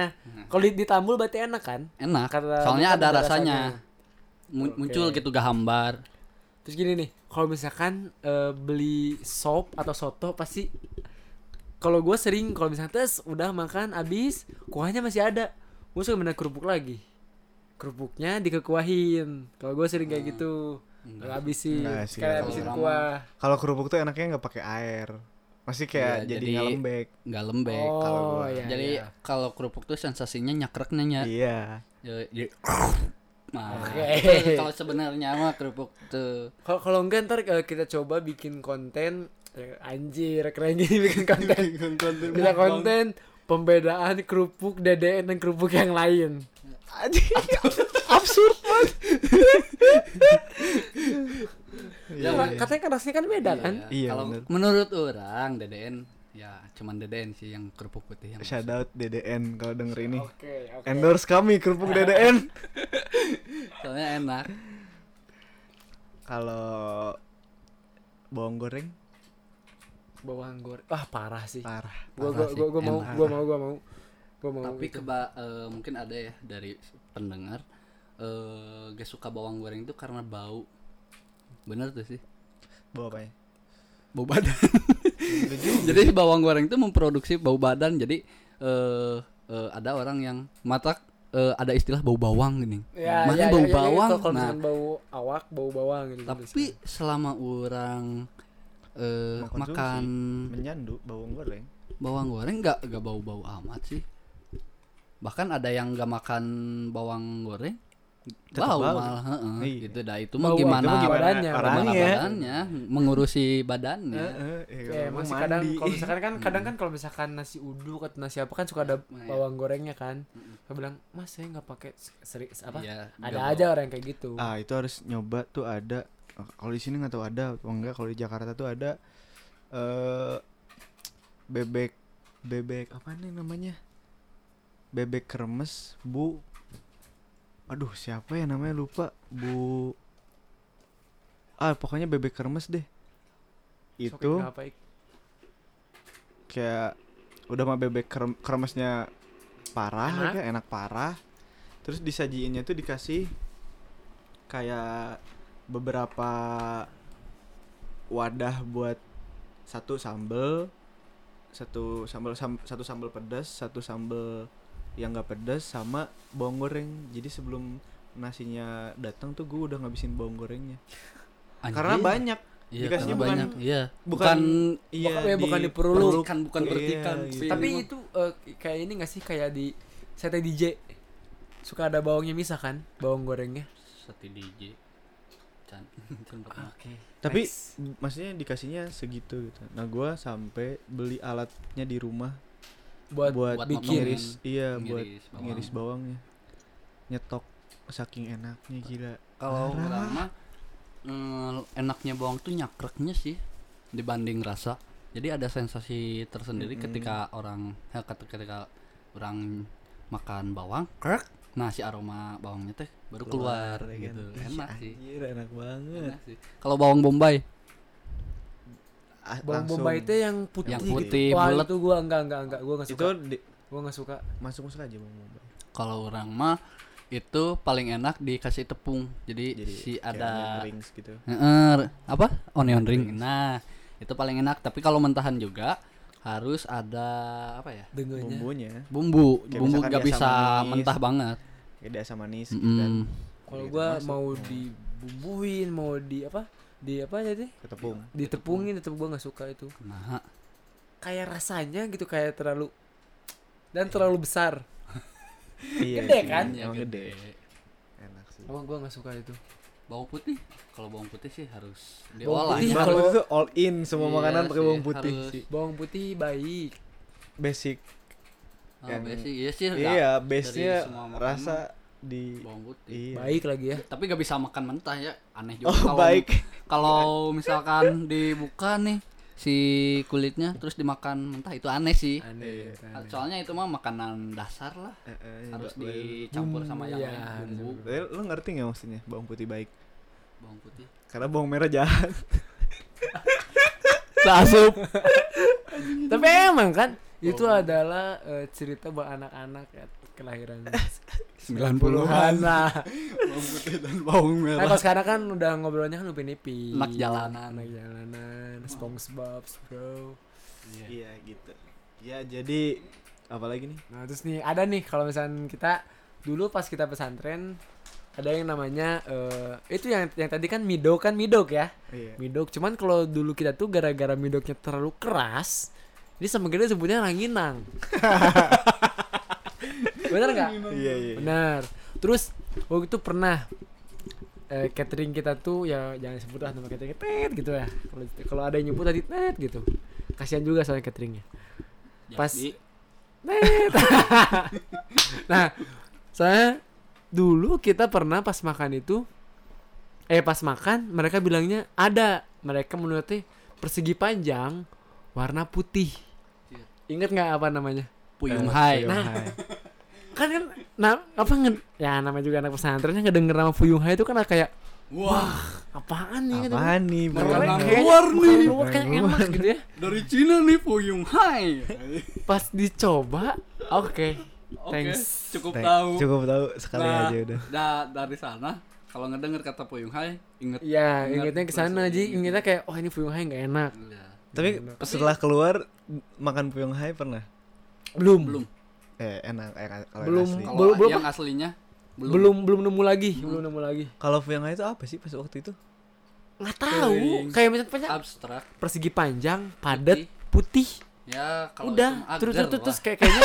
Kalau di- ditambul berarti enak kan?
Enak.
Karena
Soalnya
bukan
ada
ada
rasanya.
rasanya. Oke.
Mun- Muncul gitu gahambar.
Terus gini nih, kalau misalkan eh, beli sop atau soto pasti kalau gue sering kalau misalkan tes udah makan habis kuahnya masih ada, gue suka minta kerupuk lagi. Kerupuknya dikekuahin. Kalau gue sering kayak gitu. Kalau habisin,
Hmm. Enggak sih,
sekali
kalau
habisin
orang
kuah.
Kalau kerupuk tuh enaknya nggak pakai air. Masih kayak
Iya,
jadi,
jadi-
nggak lembek.
nggak lembek.
Eh, kalau
Oh,
gua.
iya.
Jadi
iya.
kalau kerupuk tuh sensasinya nyakreknya ya.
Iya.
Ya,
[laughs]
ya. Nah,
Oke.
itu [laughs] kalau sebenarnya mah kerupuk tuh
Kalau kalau enggak ntar eh, kita coba bikin konten eh, anjir keren gini [laughs] bikin konten. Kita konten pembedaan kerupuk DDN dan kerupuk yang lain. [laughs]
Anjing, Absurd banget. Iya,
Ya,
iya.
katanya kan rasanya kan beda kan?
Iya,
kalau
bener.
menurut orang DDN ya cuman DDN sih yang kerupuk putih yang
Shout out DDN kalau denger ini.
Oke, oke.
Endorse kami kerupuk DDN.
soalnya enak.
kalau bawang goreng
Bawang goreng. Wah, parah sih.
parah.
Gua gua
parah sih.
gua, gua mau
Enak.
gua mau gua mau. Gua mau.
Tapi
gitu.
keba eh, mungkin ada ya dari pendengar eh gak suka bawang goreng itu karena bau. Bener tuh sih.
Bawa apa ya?
Bau badan.
Iya
[laughs] jadi bawang goreng itu memproduksi bau badan. Jadi eh eh, ada orang yang mata eh, ada istilah bau bawang gini.
ya,
Makanya
ya,
bau
ya, ya,
bawang.
Kalau
nah,
misalkan bau awak, bau bawang gitu.
tapi selama orang eh,
Mengkonsumsi.
makan
Menyandu bawang goreng.
bawang goreng nggak nggak bau-bau amat sih bahkan ada yang nggak makan bawang goreng
Tetep
bau,
bau.
malah heeh.
Iya.
gitu dah itu mah
Bau, itu mah
gimana
gimana badannya,
gimana
orangnya.
badannya mengurusi badannya
Ya,
Heeh, ya, emang
emang sih kadang
mandi.
kalau
[laughs]
misalkan kan kadang kan kalau misalkan nasi uduk atau nasi apa kan suka ada
Nah, iya.
bawang gorengnya kan. Saya bilang, "Mas, saya nggak pakai seri apa?"
Iya,
ada
nggak
aja
bau.
orang yang kayak gitu.
Ah, itu harus nyoba tuh ada. Kalau di sini nggak tahu ada atau enggak. Kalau di Jakarta tuh ada eh bebek bebek apa nih namanya? Bebek kremes, Bu. Aduh, siapa ya namanya lupa. Bu Ah, pokoknya bebek kremes deh.
Sok
Itu
nggak apa, Ik.
kayak udah mah bebek krem- kremesnya parah
Enak.
enak. enak parah terus disajiinnya tuh dikasih kayak beberapa wadah buat satu sambel satu sambel sam- satu sambel pedas satu sambel yang nggak pedas sama bawang goreng jadi sebelum nasinya datang tuh gue udah ngabisin bawang gorengnya
Anjing.
karena banyak
Iya,
dikasihnya
karena
bukan-
banyak iya
bukan-
bukan
iya,
Bukan- ya, bukan diperlu.
diperlu.
bukan bukan
Iya,
bertikan
iya.
sih.
Tapi itu eh, kayak ini nggak sih kayak di sate DJ suka ada bawangnya misah kan? Bawang gorengnya.
satu DJ Can- [laughs] Can
Ah,
pernah.
Oke.
tapi
Nice.
m- maksudnya dikasihnya segitu gitu nah gua sampai beli alatnya di rumah
buat,
buat,
buat
bikin.
ngiris iya buat
Ngiris bawang.
ngiris bawangnya nyetok saking enaknya gila Parah.
Kalau orang mah mm, enaknya bawang tuh nyakreknya sih dibanding rasa. Jadi ada sensasi tersendiri
Mm-mm.
ketika orang eh, ketika, ketika orang makan bawang, krek, nah si aroma bawangnya teh baru keluar,
ya kan?
gitu.
Ih,
Enak sih.
anjir, enak banget
Enak sih. Kalau bawang bombay
Ah,
Bawang
langsung.
bombay itu yang putih. gitu.
yang
Putih.
putih
Wah,
bulat,
itu gua enggak enggak enggak gua enggak
itu
suka.
di-
Gua enggak suka.
masuk masuk aja bawang bombay
kalau orang mah itu paling enak dikasih tepung. Jadi,
jadi
si
kayak
ada
onion rings gitu
Heeh, apa? Onion ring. Nah, itu paling enak. Tapi kalau mentahan juga harus ada apa ya?
Dengonya.
bumbunya
Bumbu.
Kayak
Bumbu
misalkan
nggak
dia
bisa
sama manis.
mentah banget.
kayak ada asam manis gitu kan.
Mm-mm.
Kalau
Gitu
gua
masuk.
mau dibumbuin, mau di apa? Di apa jadi?
ke tepung
Ditepungin tetep gua enggak suka itu.
Nah,
Kayak rasanya gitu kayak terlalu dan terlalu besar.
iya
Gede
sih,
kan?
emang
ya
gede enak sih
Gua gua enggak suka itu.
Bawang putih. Kalau bawang putih sih harus
Bawang
diolah. ya.
putih
Bawang
kalau-
putih tuh all in semua
Iya
makanan pakai
sih,
bawang putih
harus.
sih.
Bawang putih baik.
Basic
Ah, base sih, iya sih.
Iya,
ra-
base-nya
dari semua makanan,
rasa di
bawang putih.
iya.
Baik lagi ya.
Tapi gak bisa makan mentah ya, aneh juga.
Oh,
kalau-
baik.
[laughs] Kalau misalkan dibuka nih si kulitnya terus dimakan mentah itu aneh sih.
Aneh. aneh.
[laughs] Soalnya itu mah makanan dasar lah,
Eh, eh,
harus
ba-
dicampur sama yang
Iya,
lain
harus
bumbu,
Eh, lu ngerti nggak maksudnya bawang putih baik?
bawang putih.
Karena bawang merah jahat.
Sasup.
[laughs] Tapi emang kan itu adalah eh, cerita buat anak-anak ya, kelahiran 90-an lah.
bawang putih [laughs] dan bawang
Nah, kalau sekarang kan udah ngobrolnya kan upin-ipin.
Anak jalanan.
Anak jalanan, SpongeBob, bro.
Iya gitu. Ya jadi apalagi nih?
Nah, terus nih ada nih kalau misalnya kita dulu pas kita pesantren ada yang namanya eh, itu yang yang tadi kan midok kan midok ya.
Iya.
Midok. Cuman kalau dulu kita tuh gara-gara midoknya terlalu keras, jadi sama gede sebutnya ranginang. Bener nggak?
Iya iya.
Benar. Terus waktu itu pernah eh, catering kita tuh ya jangan sebut lah nama catering tet gitu ya. Kalau kalau ada yang nyebut tadi tet gitu. Kasihan juga soalnya cateringnya. Pas tet. nah, saya dulu kita pernah pas makan itu eh pas makan mereka bilangnya ada mereka menurutnya persegi panjang warna putih. Ingat nggak apa namanya?
Eh,
Puyung Hai.
Puyung
Nah.
Hai.
kan kan nah, apa nge- ya namanya juga anak pesantrennya ngedenger nama Puyung Hai itu kan kayak
Wah,
apaan nih gitu.
Apaan nih?
Makanan
Makanan
bawang
Orang
merah?
kayak-
luar nih.
makanan luar kayak enak gitu ya
dari Cina nih Puyung Hai.
pas dicoba oke Thanks.
cukup
Thank-
tahu.
Cukup tahu sekali
Nah,
aja udah.
da- dari sana kalau ngedenger kata Puyung Hai, inget
Iya,
Ingat,
ingetnya ke sana
langsung
Ji,
inget.
ingetnya kayak oh ini Puyung Hai nggak enak.
Iya.
Tapi setelah keluar makan puyeng hai pernah?
Belum.
Belum.
Eh enak eh, kalau yang
Belum.
asli.
Kalau
Belum- belum,
yang aslinya belum.
Belum belum nemu lagi, belum nemu lagi.
Kalau puyeng hai itu apa sih pas waktu itu?
Nggak tahu.
Kering.
Kayak misalnya
Abstrak.
persegi panjang, padat, putih.
Ya, kalau
Udah,
itu mah
terus
agar
terus terus
lah.
kayak [laughs] kayaknya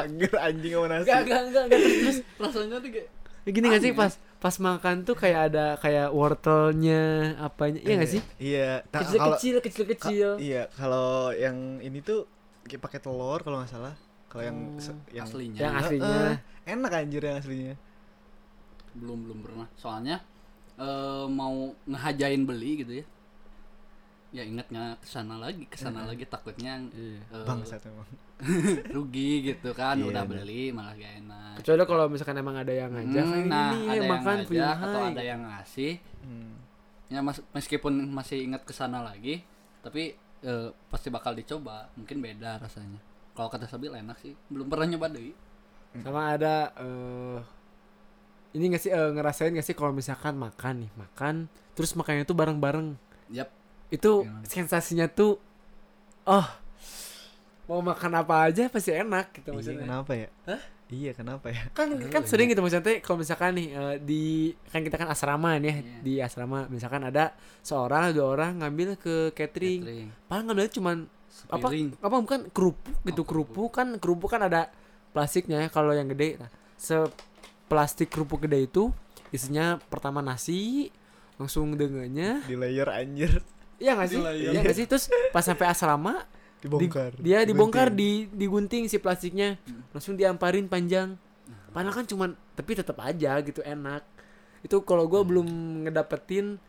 Agar anjing sama nasi.
enggak enggak enggak enggak terus [laughs] terus
rasanya tuh kayak
gini nggak sih
Aneh.
pas pas makan tuh kayak ada kayak wortelnya apanya iya nggak sih
Iya. ta-
kecil
kalau-
kecil kecil kecil
Ka- Iya, kalau yang ini tuh kayak pakai telur kalau nggak salah. Kalau yang se- yang
aslinya ya,
yang
Eh,
Oh,
eh,
aslinya
enak anjir yang aslinya.
belum belum pernah. Soalnya eh, mau ngehajain beli gitu ya. Ya ingatnya ke sana lagi, ke
Iya.
sana lagi takutnya
Oh.
eh,
Bangsat memang.
rugi gitu kan
Iya,
udah
bener.
beli malah gak enak.
kecuali kalau misalkan emang ada yang ngajak
Hmm,
kayak
nah,
gini,
ada
makan
yang
Puyung
ngajak atau
Hai.
ada yang ngasih.
Hmm.
Ya mas- meskipun masih ingat ke sana lagi, tapi eh, pasti bakal dicoba, mungkin beda rasanya. Kalau kata Sabil enak sih, belum pernah nyoba deh.
sama ada eh ini nggak sih eh, ngerasain nggak sih kalau misalkan makan nih makan terus makannya tuh bareng-bareng
Yap,
itu
Gimana?
sensasinya tuh oh mau makan apa aja pasti enak gitu
Iya,
maksudnya
kenapa ya? Iya, kenapa ya?
kan kan
Aduh,
sering gitu maksudnya kalau misalkan nih eh, di kan kita kan asrama nih ya,
Iya.
di asrama misalkan ada seorang dua orang ngambil ke catering
catering,
paling ngambilnya cuman apa
sepiring.
apa bukan kerupuk gitu
Oh,
kerupuk kan kerupuk kan ada plastiknya ya kalau yang gede nah seplastik kerupuk gede itu isinya pertama nasi langsung dengannya
Di layer anjir
iya nggak sih
Dilayang.
iya nggak sih terus pas sampai asrama di-
dibongkar.
dia dibongkar
Digunting.
di digunting si plastiknya langsung diamparin panjang padahal kan cuman tapi tetap aja gitu enak itu kalau gue belum ngedapetin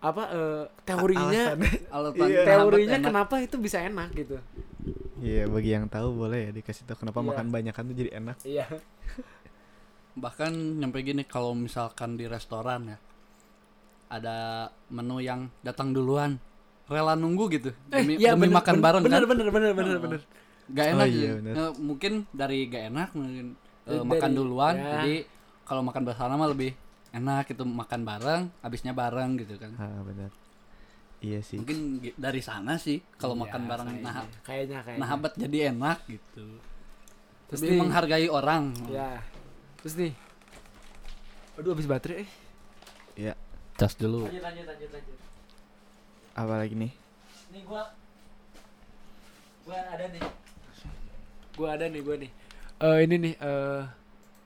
apa eh, teorinya
Alasannya. [laughs]
Alatan
Iya.
[laughs] teorinya
enak.
kenapa itu bisa enak gitu
Iya, bagi yang tahu boleh ya dikasih tahu kenapa
Iya.
makan banyakan tuh jadi enak.
iya
bahkan nyampe gini kalau misalkan di restoran ya ada menu yang datang duluan rela nunggu gitu demi,
iya,
demi
bener-
makan
bener-
bareng
bener,
kan
bener bener bener
Oh.
bener
gak
Oh,
enak
iya,
gitu.
bener.
Eh, mungkin dari gak enak mungkin eh,
Dari-
makan duluan
ya.
jadi kalau makan bersama mah lebih enak gitu makan bareng habisnya bareng gitu kan
Ah, benar. Iya sih.
mungkin gi- dari sana sih kalau
Iya,
makan bareng nah
kayaknya kayaknya
nahabat jadi enak gitu
Terus
lebih
nih-
menghargai orang
ya terus nih aduh habis baterai eh.
Iya,
cas dulu
lanjut lanjut lanjut lanjut
apalagi nih?
nih gua gua ada nih gua ada nih gua nih Eh ini nih eh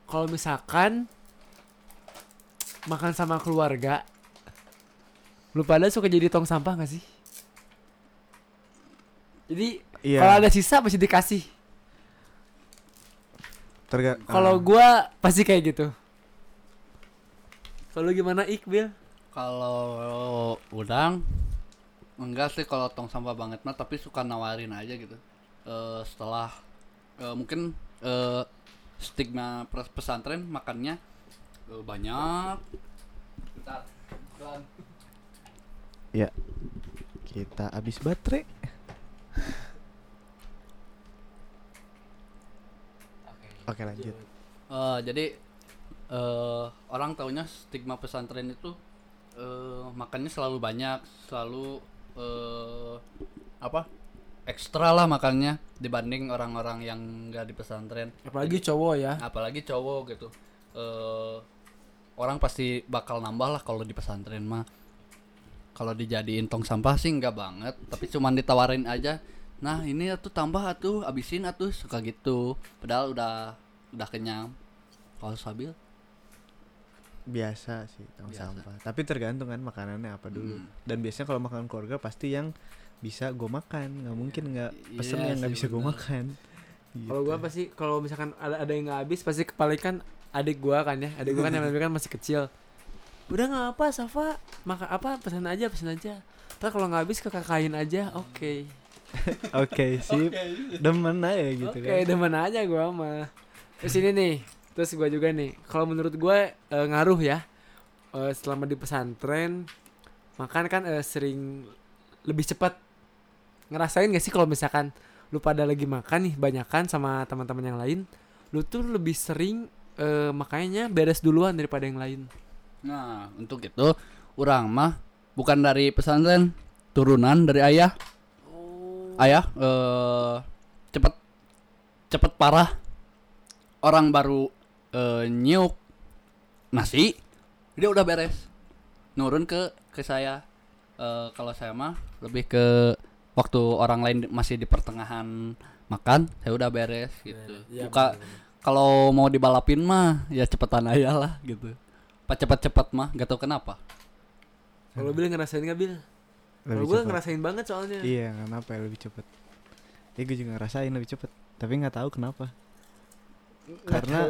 kalau misalkan makan sama keluarga lu pada suka jadi tong sampah gak sih jadi
Iya.
kalau ada sisa pasti dikasih
Terga-
Kalau
ah.
gua pasti kayak gitu. Kalau lu gimana Iqbil?
Kalau udang enggak sih kalau tong sampah banget mah tapi suka nawarin aja gitu. Eh, setelah eh, mungkin eh, stigma pres- pesantren makannya eh, banyak. Bentar. Bentar.
ya kita habis baterai. Oke lanjut.
Eh, jadi eh, orang taunya stigma pesantren itu eh, makannya selalu banyak, selalu eh, apa? Ekstra lah makannya dibanding orang-orang yang nggak di pesantren.
Apalagi cowok ya.
apalagi cowok gitu eh orang pasti bakal nambah lah kalau di pesantren mah kalau dijadiin tong sampah sih nggak banget tapi cuman ditawarin aja nah ini tuh tambah atuh abisin atuh suka gitu padahal udah udah kenyang kalau sabil
Biasa sih tong
Biasa.
sampah. Tapi tergantung kan makanannya apa dulu.
Mm.
Dan biasanya kalau makanan keluarga pasti yang bisa gue makan. Nggak mungkin nggak pesen
Iya
yang nggak
sih,
bisa gue
bener.
makan.
Kalau gua
Gitu.
pasti kalau misalkan ada ada yang nggak habis pasti kepalikan adik gua kan ya. Adik gua kan yang kan masih kecil. Udah nggak apa Safa, maka apa pesan aja pesan aja. Ntar kalau nggak habis ke kakain aja, oke.
Oke sip. Demen aja gitu
Oke,
kan.
demen aja gua mah. Terus ini nih, terus gua juga nih. Kalau menurut gua eh, ngaruh ya. Eh, selama di pesantren makan kan eh, sering lebih cepat. Ngerasain gak sih kalau misalkan lu pada lagi makan nih banyakan sama teman-teman yang lain, lu tuh lebih sering eh, makanya beres duluan daripada yang lain.
nah untuk itu orang mah bukan dari pesantren turunan dari ayah ayah eh cepet cepet parah orang baru eh, nyiuk nasi dia udah beres nurun ke ke saya Eh, kalau saya mah lebih ke waktu orang lain di- masih di pertengahan makan saya udah beres gitu
Iya,
buka kalau mau dibalapin mah ya cepetan aja lah gitu pak cepet cepet mah gak tau kenapa
Kalau Bil ngerasain gak Bil? Kalau
Hmm. Lebih
gue
cepet.
ngerasain banget soalnya.
Iya kenapa ya lebih cepet? Ya gue juga ngerasain lebih cepet. Tapi nggak tahu kenapa. Karena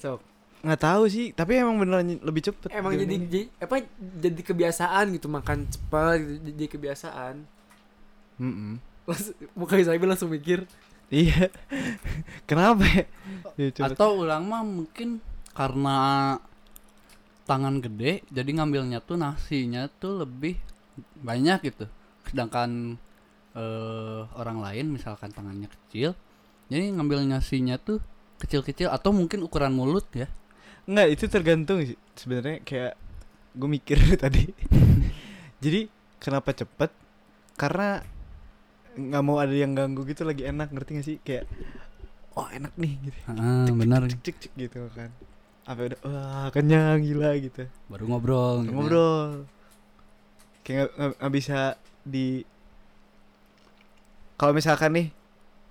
Sok.
nggak tahu sih tapi emang beneran lebih cepet
emang jadi,
jalannya.
jadi apa jadi kebiasaan gitu makan cepat gitu, jadi kebiasaan
Mm-mm.
langsung muka saya langsung mikir
iya [laughs] kenapa ya Jadi cepet.
Atau orang mah mungkin karena tangan gede jadi ngambilnya tuh nasinya tuh lebih banyak gitu. Sedangkan eh orang lain misalkan tangannya kecil jadi ngambil nasinya tuh kecil-kecil atau mungkin ukuran mulut ya.
nggak itu tergantung sih sebenarnya kayak gue mikir [laughs] tadi jadi kenapa cepet karena nggak mau ada yang ganggu gitu lagi enak ngerti gak sih kayak oh enak nih gitu
Heeh, Ah, benar.
cek cek cek gitu kan apa udah wah kenyang gila gitu
Baru ngobrol. gitu ya.
ngobrol kayak nggak- nggak nggak bisa di kalau misalkan nih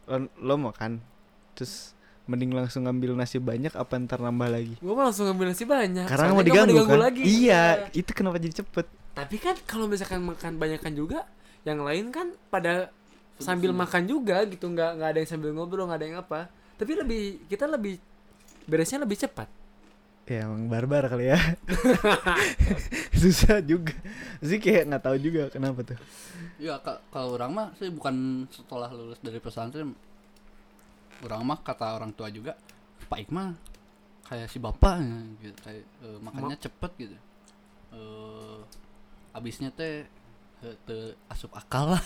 lo, lo makan terus mending langsung ngambil nasi banyak apa ntar nambah lagi
gue mah langsung ngambil nasi banyak Ya,
karena
soalnya
mau
nggak
diganggu, kan
lagi
iya itu kenapa jadi cepet
tapi kan kalau misalkan makan banyakan juga yang lain kan pada sambil makan juga gitu nggak nggak ada yang sambil ngobrol nggak ada yang apa tapi lebih kita lebih beresnya lebih cepat
ya emang barbar kali ya [laughs] susah juga sih kayak nggak tahu juga kenapa tuh
Ya ka- kalau orang mah sih bukan setelah lulus dari pesantren orang mah kata orang tua juga Pak Ikma kayak si bapak gitu kayak eh, makannya cepet gitu. Eh abisnya teh eh, teu asup akal lah.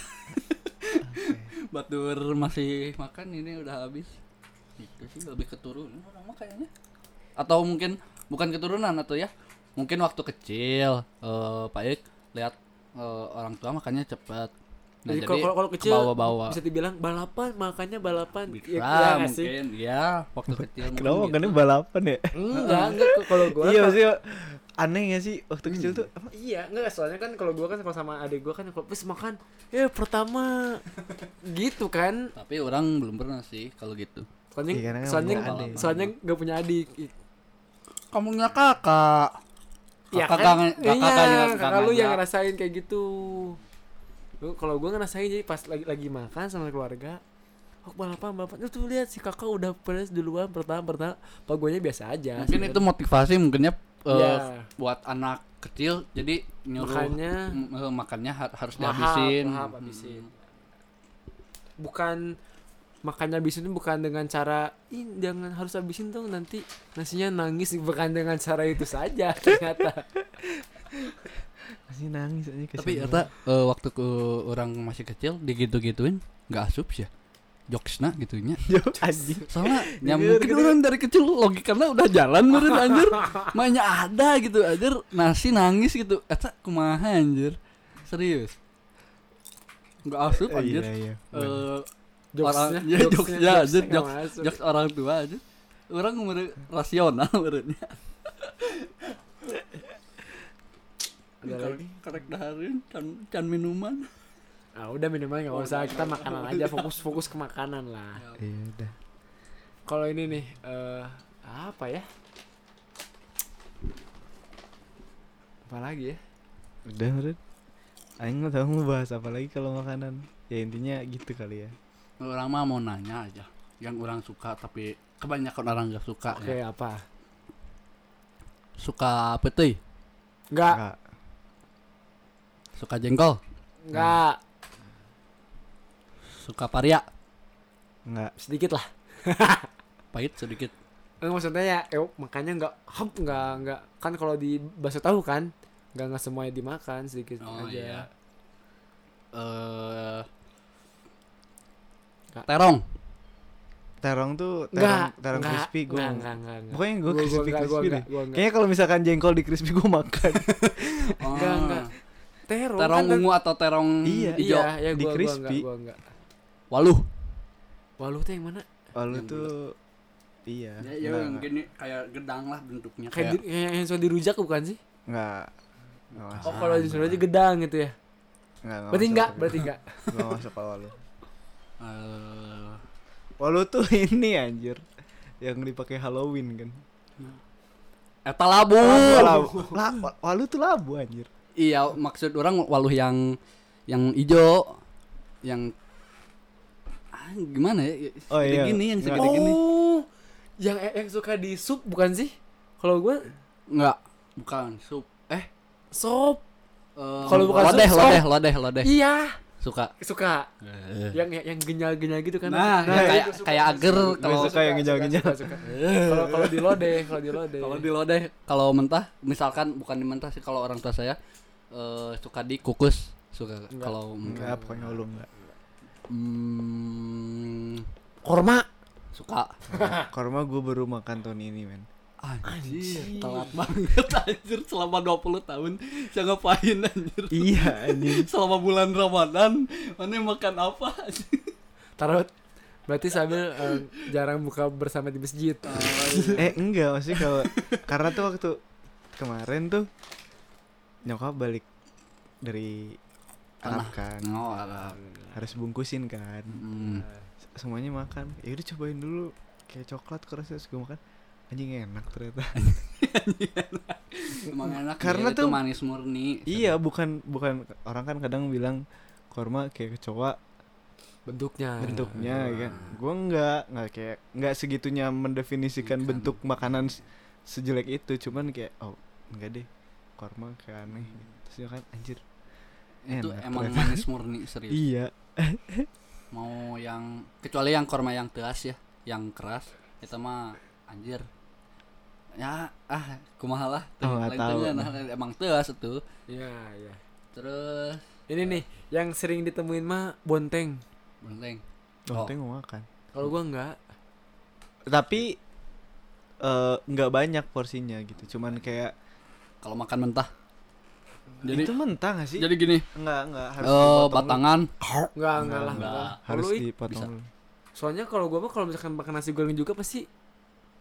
[laughs] Batur masih makan ini udah habis. Itu sih lebih keturunan orang mah kayaknya. Atau mungkin bukan keturunan atau ya. Mungkin waktu kecil eh Pak Ik lihat eh, orang tua makannya cepet. Nah,
jadi
jadi,
Iya, kalau kalau kecil
bawa-bawa.
bisa dibilang balapan makannya balapan
Bisa,
Iya, iya nggak sih?
mungkin ya waktu kecil mungkin
kenapa
gitu.
makannya balapan ya
enggak enggak kalau gue
iya maksudnya aneh gak sih waktu kecil tuh apa?
Iya, enggak soalnya kan kalau gua kan kalau sama adik gua kan kalau "Wes, makan, ya pertama gitu kan.
tapi orang belum pernah sih kalau gitu
Soalnya
Iya, karena kan
soalnya
punya
adik.
soalnya enggak punya adik.
kamu punya kakak
Iya
kakak
kan?
kangen-
Iya,
kakak kangen-
kakak lu
kangen
yang
aja.
ngerasain kayak gitu. Lu kalau gua ngerasain jadi pas lagi lagi makan sama keluarga, oh balapan balapan Lu tuh lihat si kakak udah peres duluan pertama pertama pak guanya biasa aja
mungkin
sih. kan?
itu motivasi mungkinnya eh,
Iya.
buat anak kecil jadi nyuruh
Makannya.
m- eh, makannya har- harus
Lahap,
dihabisin Hmm.
lahap, habisin. bukan makannya habisin itu bukan dengan cara Ih, jangan harus habisin dong nanti nasinya nangis bukan dengan cara itu saja [laughs] ternyata
masih nangis aja
tapi ternyata eh, waktu ke orang masih kecil digitu-gituin nggak asup sih ya jokesna gitunya
[laughs] anjing
soalnya ya
Gitu,
mungkin
gitu.
orang dari kecil logikanya udah jalan
[laughs]
meren anjir mainnya ada gitu anjir nasi nangis gitu eta kumaha anjir serius nggak asup anjir
iya iya
Eh,
jokesnya
Orang- iya, jokesnya, anjir,
nggak
jokes-
masuk.
jokes orang tua aja orang mere- rasional merenya
Ada lagi?
karek daharin can, can minuman
ah udah minimal nggak
Oh,
usah
udah.
kita makanan aja fokus fokus ke makanan lah
iya udah
kalau ini nih eh apa ya apa lagi ya
udah Ren. Aing nggak tahu mau bahas apa lagi kalau makanan ya intinya gitu kali ya
orang mah mau nanya aja yang orang suka tapi kebanyakan orang gak suka
oke
ya.
apa
suka petai
nggak
Nggak.
suka jengkol
nggak
suka paria
nggak
sedikit lah
pahit sedikit
Eh, maksudnya ya eh, makanya nggak hap nggak nggak kan kalau di bakso tahu kan nggak nggak semuanya dimakan sedikit
Oh,
aja
iya. eh
Nggak.
terong
terong tuh
nggak
terong terong
nggak,
crispy gue
nggak nggak nggak nggak.
pokoknya gue
Gua- gua
crispy
nggak, gua
crispy deh
nggak, gua nggak.
kayaknya kalau misalkan jengkol di crispy gue makan
Nggak, nggak. terong,
terong
kan-
ungu atau terong
Iya.
hijau
iya ya
di
gua, gua nggak
crispy.
gua nggak
waluh
waluh tuh yang mana
oh lu
Yang
tuh iya
ya,
nggak,
yang
nggak.
gini kayak gedang lah bentuknya
kayak di- kayak yang suka dirujak bukan sih
nggak nggak masuk
oh kalau di Sunda aja gedang gitu ya
nggak
Oh,
nggak
berarti
masuk
enggak
tapi.
berarti enggak
nggak masuk kalau lu
Eh,
Walu tuh [laughs] ini anjir yang dipakai Halloween kan.
eta labu
Oh.
Labu. La, wa- walu tuh labu anjir.
iya maksud orang waluh yang yang hijau yang ah, gimana ya
Oh,
Segede
iya.
gini yang
Nggak.
segede [laughs] gini
oh yang yang suka di sup bukan sih kalau gua
enggak bukan sup eh
sop
eh,
Kalau bukan sup,
lodeh
sup.
lodeh lodeh lodeh
iya
suka
suka yang yang yang genyal-genyal gitu kan
Eh. Nah,
Nah,
kayak
itu suka,
kayak agar kalau
Suka yang genyal-genyal.
suka, suka, suka. kalau kalau di lode kalau di lode
kalau di lodeh kalau mentah misalkan bukan di mentah sih kalau orang tua saya eh, suka dikukus suka
Enggak.
kalau
Enggak, pokoknya walu enggak.
Hmm,
korma
suka
Korma gue baru makan tahun ini men.
anjir, telat banget anjir selama 20 tahun saya ngapain anjir
iya anjir.
selama bulan Ramadan mana yang makan apa anjir?
tarot berarti sambil eh, jarang buka bersama di masjid
Eh enggak maksudnya kalau [laughs] karena tuh waktu kemarin tuh nyokap balik dari Arab kan
no alah.
harus bungkusin kan
Hmm.
semuanya makan ya udah cobain dulu kayak coklat keras terus gue makan anjing enak
[laughs]
ternyata
Emang enak
Karena
karena
tuh-
tuh manis murni
Iya, bukan bukan orang kan kadang bilang korma kayak kecoa
bentuknya
Ah.
bentuknya kan. Gua nggak nggak kayak nggak segitunya mendefinisikan
Bukan.
bentuk makanan se- sejelek itu, cuman kayak oh enggak deh korma kayak aneh. Terus dia kan anjir.
itu
enak
emang
ternyata."
manis murni serius
iya.
mau yang kecuali yang korma yang teas ya yang keras itu mah anjir ya ah kumaha lah Tuh,
Oh, nggak
lain
tahu.
tuh, nah, emang teas itu
iya iya
terus
ini nih yang sering ditemuin mah bonteng
beleng
Oh.
Oh.
mau makan.
kalau gua enggak
Tapi eh, nggak banyak porsinya gitu, cuman kayak
kalau makan mentah jadi
itu mentah nggak sih?
jadi gini
Enggak, enggak harus
eh
dipotong dulu.
batangan
enggak enggak lah
Enggak.
enggak
harus
Kalau i-
dipotong.
bisa.
dulu.
soalnya kalau gua mah kalau misalkan makan nasi goreng juga pasti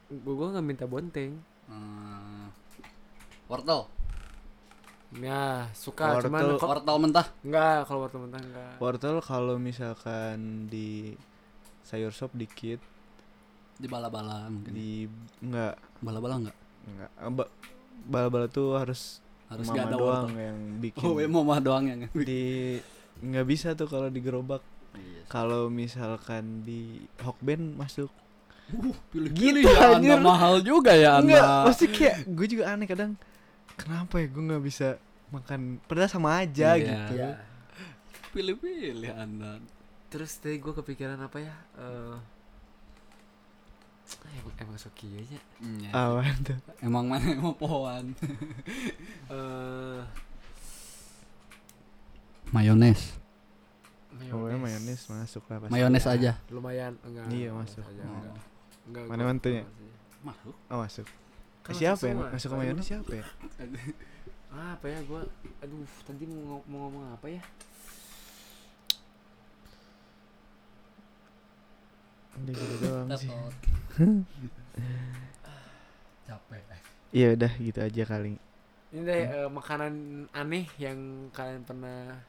gua gua nggak minta bonteng
hmm, wortel
ya suka
Wortel.
cuman kok
wortel mentah
enggak kalau wortel mentah enggak
Wortel kalau misalkan di sayur sop dikit
di bala-bala mungkin
di enggak
bala-bala enggak
enggak Ba- bala-bala tuh harus,
harus Oh,
mama
gak ada
doang
wortel
yang bikin
oh ya mama doang yang
di nggak bisa tuh kalau di gerobak Kalau misalkan di Hokben masuk
Uh, pilih
Gitu,
ya,
anjir.
Anda mahal juga ya
Enggak,
Anda.
pasti kayak gue juga aneh kadang Kenapa ya gue gak bisa makan Padahal sama aja
Iya.
gitu
Iya.
Pilih-pilih Anda.
Terus tadi gue kepikiran apa ya? Eh ah, emang emang Soki aja.
Iya.
Awan tuh
Emang mana yang mau pohon?
Eh
Mayones.
Pokoknya Oh, ya mayones masuk lah pasti
Mayones aja.
Ya, Lumayan enggak.
Iya,
enggak
masuk.
aja,
Oh.
enggak. Enggak,
Mana
gua-
mantunya?
Masuk.
Oh masuk
Kan
Siapa
masuk
yang
semua.
masuk ke
Tadi
mayones
belum.
siapa ya?
Ah, apa ya gue? Aduh, tadi mau, ngom- mau ngomong apa ya?
Udah gitu doang sih
Tetot. [laughs] Capek. Eh,
Iya udah gitu aja kali
Ini deh
Hmm.
eh, makanan aneh yang kalian pernah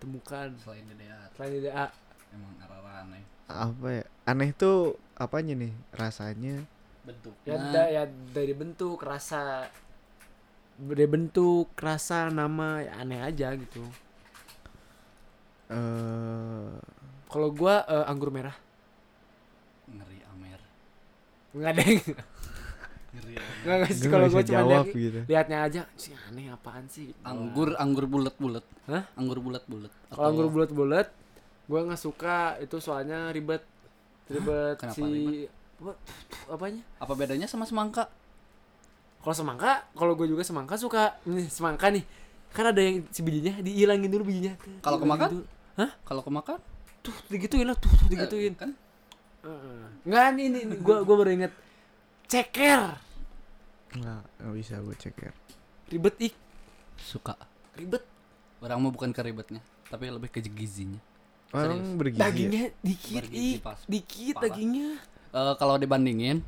temukan
Selain DDA
selain ah, DDA.
emang arah aneh.
Apa ya? Aneh tuh apanya nih rasanya
Bentuk.
Ya, da- ya dari bentuk, rasa dari bentuk, rasa, nama ya aneh aja gitu.
eh
Kalau gua eh, anggur merah.
ngeri Amer.
Enggak deh.
Ngeri.
Enggak enggak sih
Gue
kalau
gak
gua
bisa
cuma
jawab
lihat
gitu
lihatnya aja sih aneh apaan sih. Gitu.
Anggur anggur bulat-bulat.
Hah?
Anggur bulat-bulat.
Kalau anggur bulat-bulat gua nggak suka itu soalnya ribet. Ribet
Kenapa
si
ribet?
Apa, apanya?
Apa bedanya sama semangka?
Kalau semangka, kalau gue juga semangka suka nih, semangka nih. Kan ada yang si bijinya dihilangin dulu bijinya. Dihilangin
Kalau kemakan?
dulu.
Kalau kemakan?
Tuh, digituin lah, tuh, tuh digituin.
Eh, kan?
Heeh. Enggak ini, ini, ini gua gua baru inget ceker.
Nggak, nggak bisa gue cek ya
Ribet ik,
Suka.
ribet.
Orang mah bukan keribetnya, tapi lebih ke gizinya.
Orang bergizi ya?
Dagingnya dikit
Bergizi
ik,
pas.
dikit
Parah.
dagingnya.
Eh, kalau dibandingin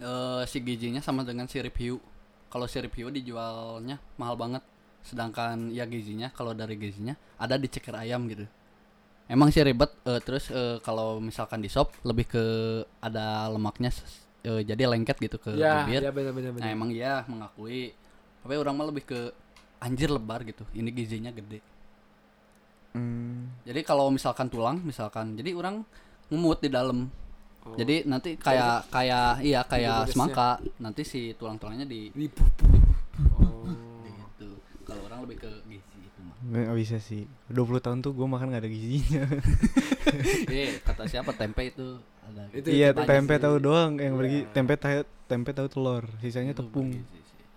eh si gizinya sama dengan sirip hiu. Kalau sirip hiu dijualnya mahal banget, sedangkan ya gizinya kalau dari gizinya ada di ceker ayam gitu. Emang sih ribet. eh, terus eh, kalau misalkan di shop lebih ke ada lemaknya, s- eh, jadi lengket gitu ke
Ya,
bibir.
ya benar-benar
Nah
benar.
emang ya mengakui. Tapi orang mah lebih ke anjir lebar gitu. Ini gizinya gede.
Hmm.
Jadi kalau misalkan tulang, misalkan, jadi orang ngemut di dalam.
Oh.
Jadi nanti kayak kayak iya
Jadi
kayak
beresnya.
semangka, nanti si tulang-tulangnya di
Dipupu. Oh.
gitu. Kalau orang lebih ke gizi itu
[laughs]
mah.
Gue gak bisa sih 20 tahun tuh gue makan gak ada gizinya
Eh, kata siapa tempe itu ada
Itu-
Iya
banyak
tempe
sih.
tahu doang yang bergi
Iya.
Tempe tahu tempe tahu telur Sisanya
Itu
tepung
bergizi
[laughs]
sih. iya,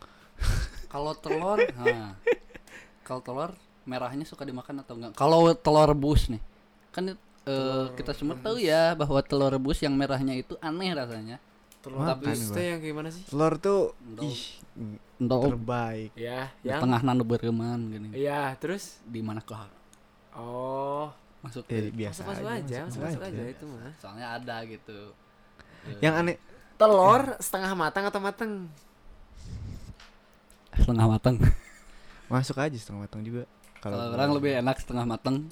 Kalau telur, nah. Kalau telur merahnya suka dimakan atau enggak? Kalau telur rebus nih. Kan eh,
Telur
kita semua tahu
rebus.
ya bahwa telur rebus yang merahnya itu aneh rasanya.
Telur
Makan
tapi
gua.
itu yang kayak gimana sih?
Telur tuh
Endol.
ih
Untuk
terbaik
Ya,
oh, di
yang
tengah nanu bergeman gini.
Iya, terus
di mana kelak
oh,
masuk
ya,
ke
biasa
masuk-masuk
aja,
aja, masuk-masuk aja itu mah.
soalnya ada gitu Eh,
Yang aneh
Telur setengah matang atau matang?
setengah matang
masuk aja setengah matang juga
kalau
gua-
orang lebih enak setengah matang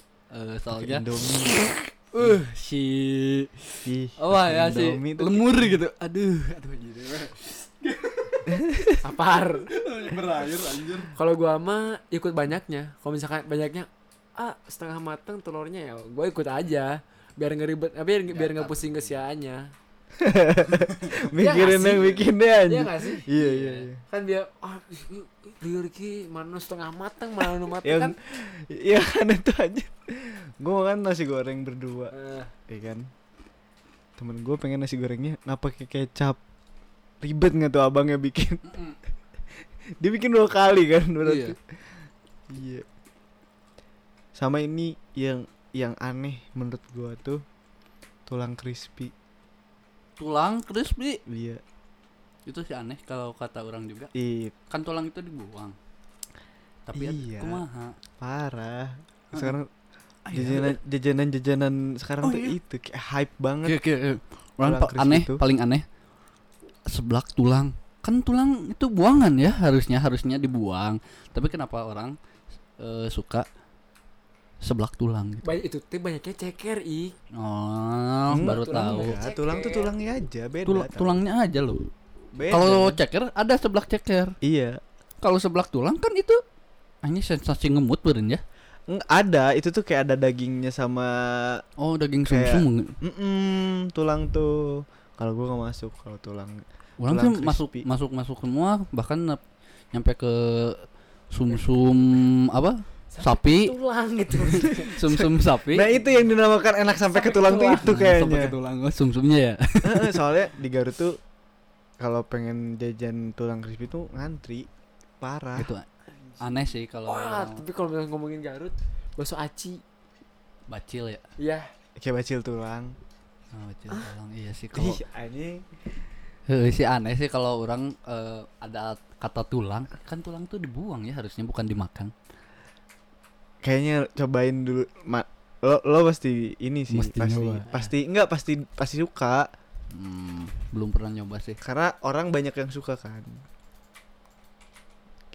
pakai
eh, soalnya
[laughs]
Indomie
uh si
Ih,
Oh,
apa
iya
ya si
Indomie tuh
lemur gitu aduh aduh gitu
Apar.
berair anjir
Kalau gua mah ikut banyaknya. Kalau misalkan banyaknya ah setengah matang telurnya ya gua ikut aja biar ngeribet eh, biar biar nggak pusing ke sianya.
[laughs] mikirin
nggak
yang
sih?
bikin deh anjing.
Iya nggak sih?
Iya iya iya.
Kan dia ah ih, ih, liur ki mana setengah matang mana nu matang
Yang
kan.
yang aneh tuh aja. Gue makan nasi goreng berdua,
Eh,
ya kan. Temen gue pengen nasi gorengnya nggak pakai kecap. Ribet nggak tuh abangnya bikin? [laughs] Dia bikin dua kali kan berarti.
iya
Iya. Sama ini yang yang aneh menurut gua tuh tulang crispy.
tulang crispy
Iya.
itu sih aneh kalau kata orang juga
Ih,
kan tulang itu dibuang tapi ada
Iya.
kumaha
parah. Sekarang
Ayo.
jajanan jajanan jajanan sekarang
Iya, Oh,
tuh
iya.
itu kayak hype banget.
Oke, oke, oke. Orang
Tulang
pa-
crispy
aneh,
tuh.
paling aneh seblak tulang. Kan tulang itu buangan ya harusnya harusnya dibuang. Tapi kenapa orang eh, suka seblak tulang gitu?
banyak itu teh banyaknya ceker ih.
Oh,
Enggak,
baru
tulang
Enggak,
tahu.
Hmm, Iya, tulang tuh
Ceker.
tulangnya aja beda.
Tula-
tau.
tulangnya aja loh.
Beda.
Kalau ceker ada seblak ceker.
iya,
Kalau seblak tulang kan itu hanya sensasi ah, ngemut beren ya.
Eng- ada itu tuh kayak ada dagingnya sama
Oh, daging
Kayak-
sumsum.
mm tulang tuh kalau gua nggak masuk kalau tulang
Orang sih
tulang
masuk
crispy.
masuk masuk semua bahkan nap- nyampe ke sumsum apa? Sapi,
tulang gitu
[laughs]
sumsum sapi.
nah itu yang dinamakan enak sampai ke tulang tuh itu
Sampai
[laughs] kayaknya
ke tulang oh, sumsumnya ya.
Heeh, soalnya di Garut tuh kalau pengen jajan tulang crispy tuh ngantri parah
Itu Gitu. aneh sih
[laughs]
kalau
wah tapi kalau misalnya ngomongin Garut bakso aci
bacil ya.
ya
kayak bacil tulang
Nah, bacil
Ah.
tulang. Iya sih kalau
ih anjing
Heeh sih aneh sih kalau orang eh, ada kata tulang, kan tulang tuh dibuang ya harusnya bukan dimakan.
kayaknya cobain dulu Ma- lo lo pasti ini sih
Mesti
pasti
nyoba.
pasti enggak pasti pasti suka
Hmm, belum pernah nyoba sih.
karena orang banyak yang suka kan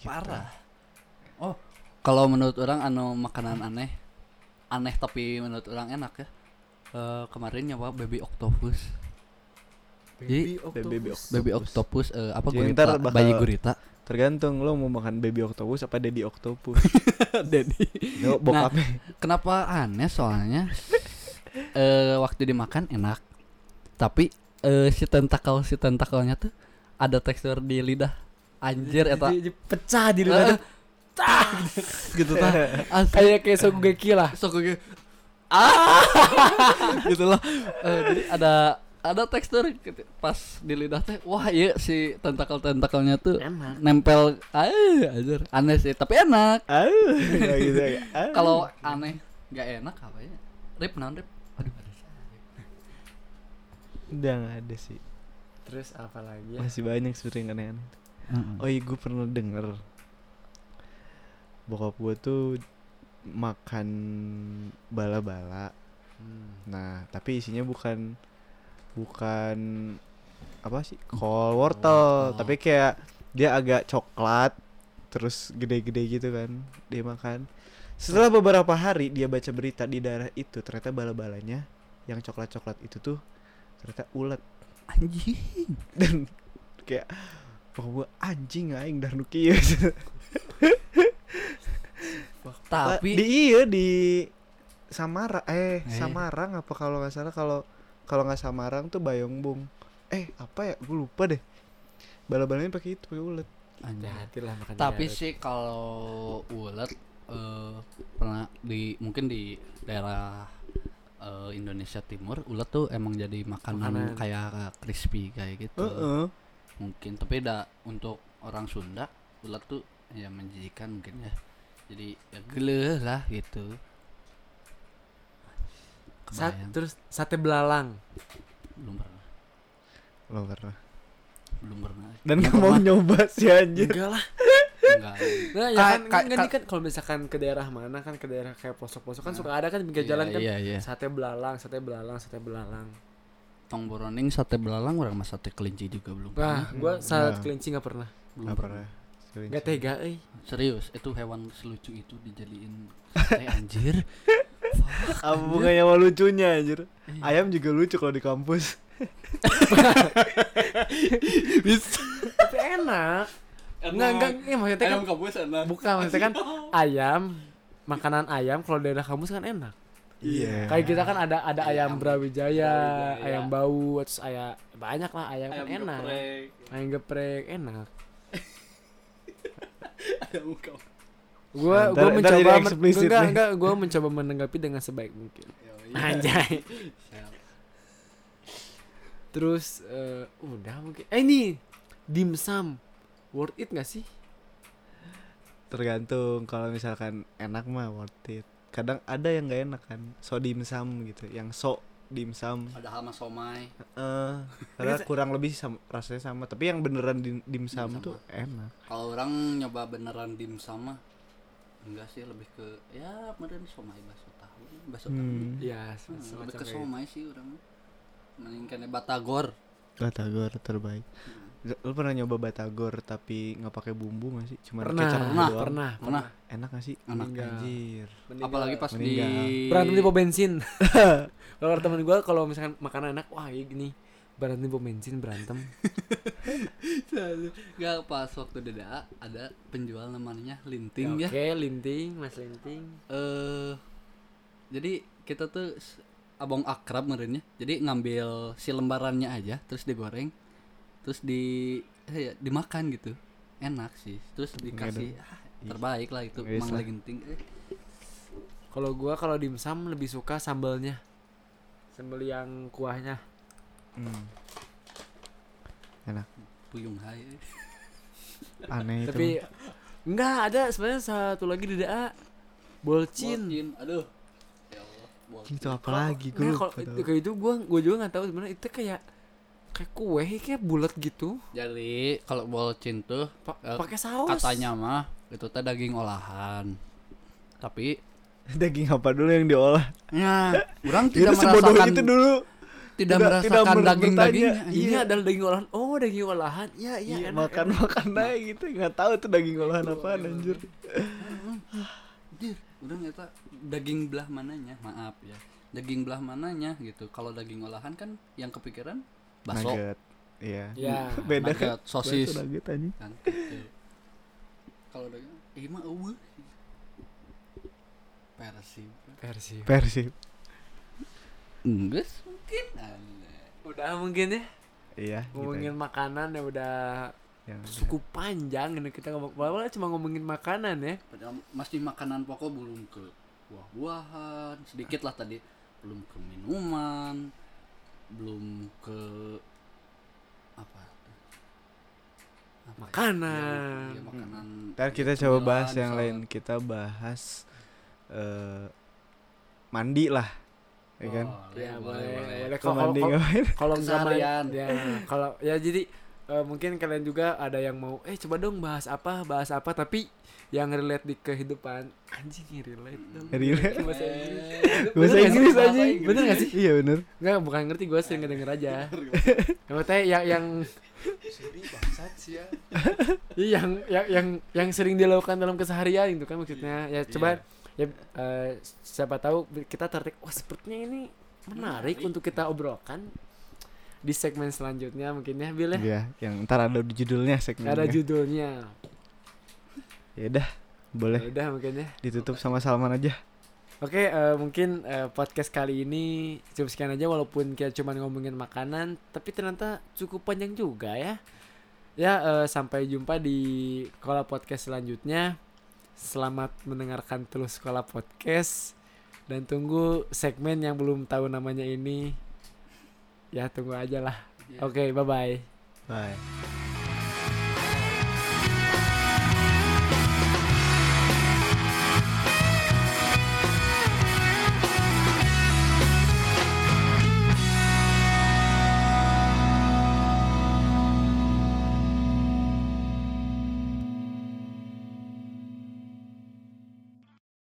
Gitu.
Parah. Oh, kalau menurut orang anu makanan aneh, aneh tapi menurut orang enak ya. Eh, kemarin nyoba baby octopus. Jadi
Baby
baby octopus eh, apa
Jadi
gurita?
ntar bakal-
Bayi gurita.
tergantung lo mau makan baby octopus apa daddy octopus
[laughs] Daddy. Nah.
lo bokapnya
Kenapa aneh [laughs] soalnya? eh waktu dimakan enak, tapi eh si tentakel si tentakelnya tuh ada tekstur di lidah anjir eta
Jadi- jadi pecah di lidah tuh.
[laughs] gitu tah [laughs] Asli.
Eh. [laughs] kayak kayak sogugeki lah
so gue ah [laughs] gitu loh Eh, jadi ada ada tekstur gitu. pas di lidah teh wah iya si tentakel tentakelnya tuh
Enak.
nempel ah anjir aneh sih tapi enak
Aduh, kayak gitu ya. Aduh.
kalau aneh nggak enak apa ya rip non rip aduh ada sih.
udah nggak ada sih
terus apa lagi ya
masih banyak sebenernya yang aneh-aneh oh iya gue pernah denger bokap gue tuh makan bala-bala
Hmm.
nah tapi isinya bukan bukan apa sih kol wortel
wortel.
tapi kayak dia agak coklat terus gede-gede gitu kan dia makan setelah beberapa hari dia baca berita di daerah itu ternyata bala-balanya yang coklat-coklat itu tuh ternyata ulat
anjing
[laughs] dan kayak bahwa anjing aing darnu kieu [laughs]
tapi
di iya di Samara eh,
Eh.
Samarang apa kalau nggak salah kalau kalau nggak Samarang tuh Bayongbong eh apa ya gue lupa deh bala-balanya pakai itu pakai ulet
Anjing.
hati lah makan
tapi
Garut.
sih kalau ulet eh, pernah di mungkin di daerah eh, Indonesia Timur ulet tuh emang jadi makanan,
Makanan.
kayak crispy kayak gitu
Heeh.
mungkin tapi da, untuk orang Sunda ulet tuh ya menjijikan mungkin ya jadi ya geleh lah gitu
Sat,
kebayang
terus sate belalang
belum pernah
Lo pernah
belum pernah
dan
Nggak
nggak mau [laughs]
pernah.
nyoba sih anjir
enggak lah
Nggak.
nah ya
Iya. Ka-
kan
ka-
enggak
ka-
nih kan kalau misalkan ke daerah mana kan ke daerah kayak pelosok-pelosok kan suka ada kan pinggir
Iya,
jalan kan
iya iya
sate belalang sate belalang sate belalang
tong boroning sate belalang orang mas sate kelinci juga belum pernah
nah gua
Nah.
saat kelinci nggak pernah
belum
nggak pernah Serius.
nggak tega eh
Serius, itu hewan selucu itu dijadiin sate anjir. Fuck,
apa
anjir.
bukannya mau lucunya anjir ayam juga lucu kalau di kampus
tapi enak nggak
Emang
nggak ya maksudnya kan
Ayam Iya. kampus enak.
bukan maksudnya kan ayam makanan ayam kalau daerah kamus kan enak
iya
kayak kita kan ada ada ayam,
Iya, Ayam
brawijaya,
Brawijaya.
ayam bau terus ayam banyak lah ayam, kan enak
geprek,
ayam geprek enak
ayam kampus.
gua
Ntar-
gua
ntar jadi
mencoba men-
eksplisit
enggak
nih.
enggak gua mencoba menanggapi dengan sebaik mungkin
Yoi.
anjay
Siap.
[laughs] terus eh, udah mungkin eh ini dimsum worth it gak sih
tergantung kalau misalkan enak mah worth it kadang ada yang nggak enak kan so dimsum gitu yang so dimsum
Ada sama somai.
eh karena kurang lebih sam- rasanya sama tapi yang beneran dim- dimsum
Dimsum
tuh enak
Kalau orang nyoba beneran dimsum mah enggak sih lebih ke ya meren somai bakso tahu, bakso tahu.
hmm.
ya
Hmm,
semacam
lebih ke
kayak gitu.
somai sih orang. Mending kene batagor.
batagor terbaik lu pernah nyoba batagor tapi nggak pakai bumbu nggak sih cuma
pernah
kecap
pernah
doang
gitu. pernah Iya.
Pernah.
enak nggak sih
Enak.
anjir
Mending
Apalagi
gua-
pas
Meninggal.
di
berantem di pom bensin kalau temen gue kalau misalkan makanan enak wah ya gini berhenti pom bensin berantem
Gak pas waktu deda ada penjual namanya Linting ya.
oke linting mas linting
eh jadi kita tuh s- abang akrab merenya jadi ngambil si lembarannya aja terus digoreng terus di eh, ya, dimakan gitu enak sih terus dikasih ah, terbaik lah itu
Nggak
emang
bisa.
lagi genting eh,
kalau gua kalau dimsum lebih suka sambelnya sambel yang kuahnya
Hmm. Enak.
puyung hai eh.
Aneh itu.
tapi enggak ada sebenarnya satu lagi di DA bolcin
Bolcin, aduh ya Allah bolcin.
itu apa lagi gue
Nah, kalau
lupa
itu
tau.
kayak itu gua gua juga nggak tahu sebenarnya itu kayak kayak kue kayak bulat gitu
jadi kalau bolcin tuh
pa-
Eh,
pakai saus
katanya mah itu teh daging olahan tapi
Daging apa dulu yang diolah?
ya orang
Itu
tidak
sebodoh
merasakan
itu dulu.
tidak,
Tidak- tidak
merasakan
ber-
daging dagingnya
bertanya.
ini adalah daging olahan oh daging olahan ya iya
Iya,
enak, Iya,
makan makan aja gitu nggak tahu tuh daging olahan apaan anjir
Anjir, udah nyata daging belah mananya maaf ya daging belah mananya gitu kalau daging olahan kan yang kepikiran bakso
Nugget. iya
Ya,
[laughs] beda kan
nugget, sosis.
Bakso nugget anjing
kan gitu. kalau daging eh mah eueuh. persib
versi
persib
enggak mungkin Alah.
udah mungkin ya
iya gitu
ngomongin makanan ya udah
aja. Yang-
cukup panjang ini kita ngomong awalnya cuma ngomongin makanan ya
padahal masih makanan pokok belum ke buah-buahan sedikit lah tadi belum ke minuman belum ke apa Apa ya?
Makanan.
Ya, makanan
ntar kita coba
cemilan,
bahas yang
salad.
lain kita bahas eh mandi lah ya kan
Boleh,
ya
boleh, boleh.
boleh
Kalau
kalau
mandi
kalau-
[laughs] ngapain
kalau nggak main-
Keseharian.
ya [laughs] kalau ya jadi eh, mungkin kalian juga ada yang mau eh coba dong bahas apa bahas apa tapi yang relate di kehidupan anjing yang relate dong
Relate.
Ke bahasa Inggris.
Eh,
bahasa
bener
Inggris
nggak sih?
anjing.
Bahasa
Bener nggak sih?
iya bener
nggak bukan ngerti gue sering ngedenger aja [laughs] yang teh yang yang Iya,
Sorry, bangsat sih
[laughs]
ya.
yang yang yang, yang sering dilakukan dalam keseharian gitu kan maksudnya
Iya,
ya coba ya eh, siapa tahu kita tertarik wah sepertinya ini menarik,
Menarik.
untuk kita obrolkan di segmen selanjutnya mungkin ya Bill ya
iya yang ntar ada di judulnya segmennya
ada judulnya
ya udah boleh
udah mungkin ya
ditutup sama Salman aja
Oke, eh, mungkin eh, podcast kali ini cukup sekian aja walaupun kita cuma ngomongin makanan, tapi ternyata cukup panjang juga ya. Ya, eh, sampai jumpa di Sekolah Podcast selanjutnya. Selamat mendengarkan terus Sekolah Podcast dan tunggu segmen yang belum tahu namanya ini. Ya, tunggu aja lah.
Iya.
Oke, bye-bye.
bye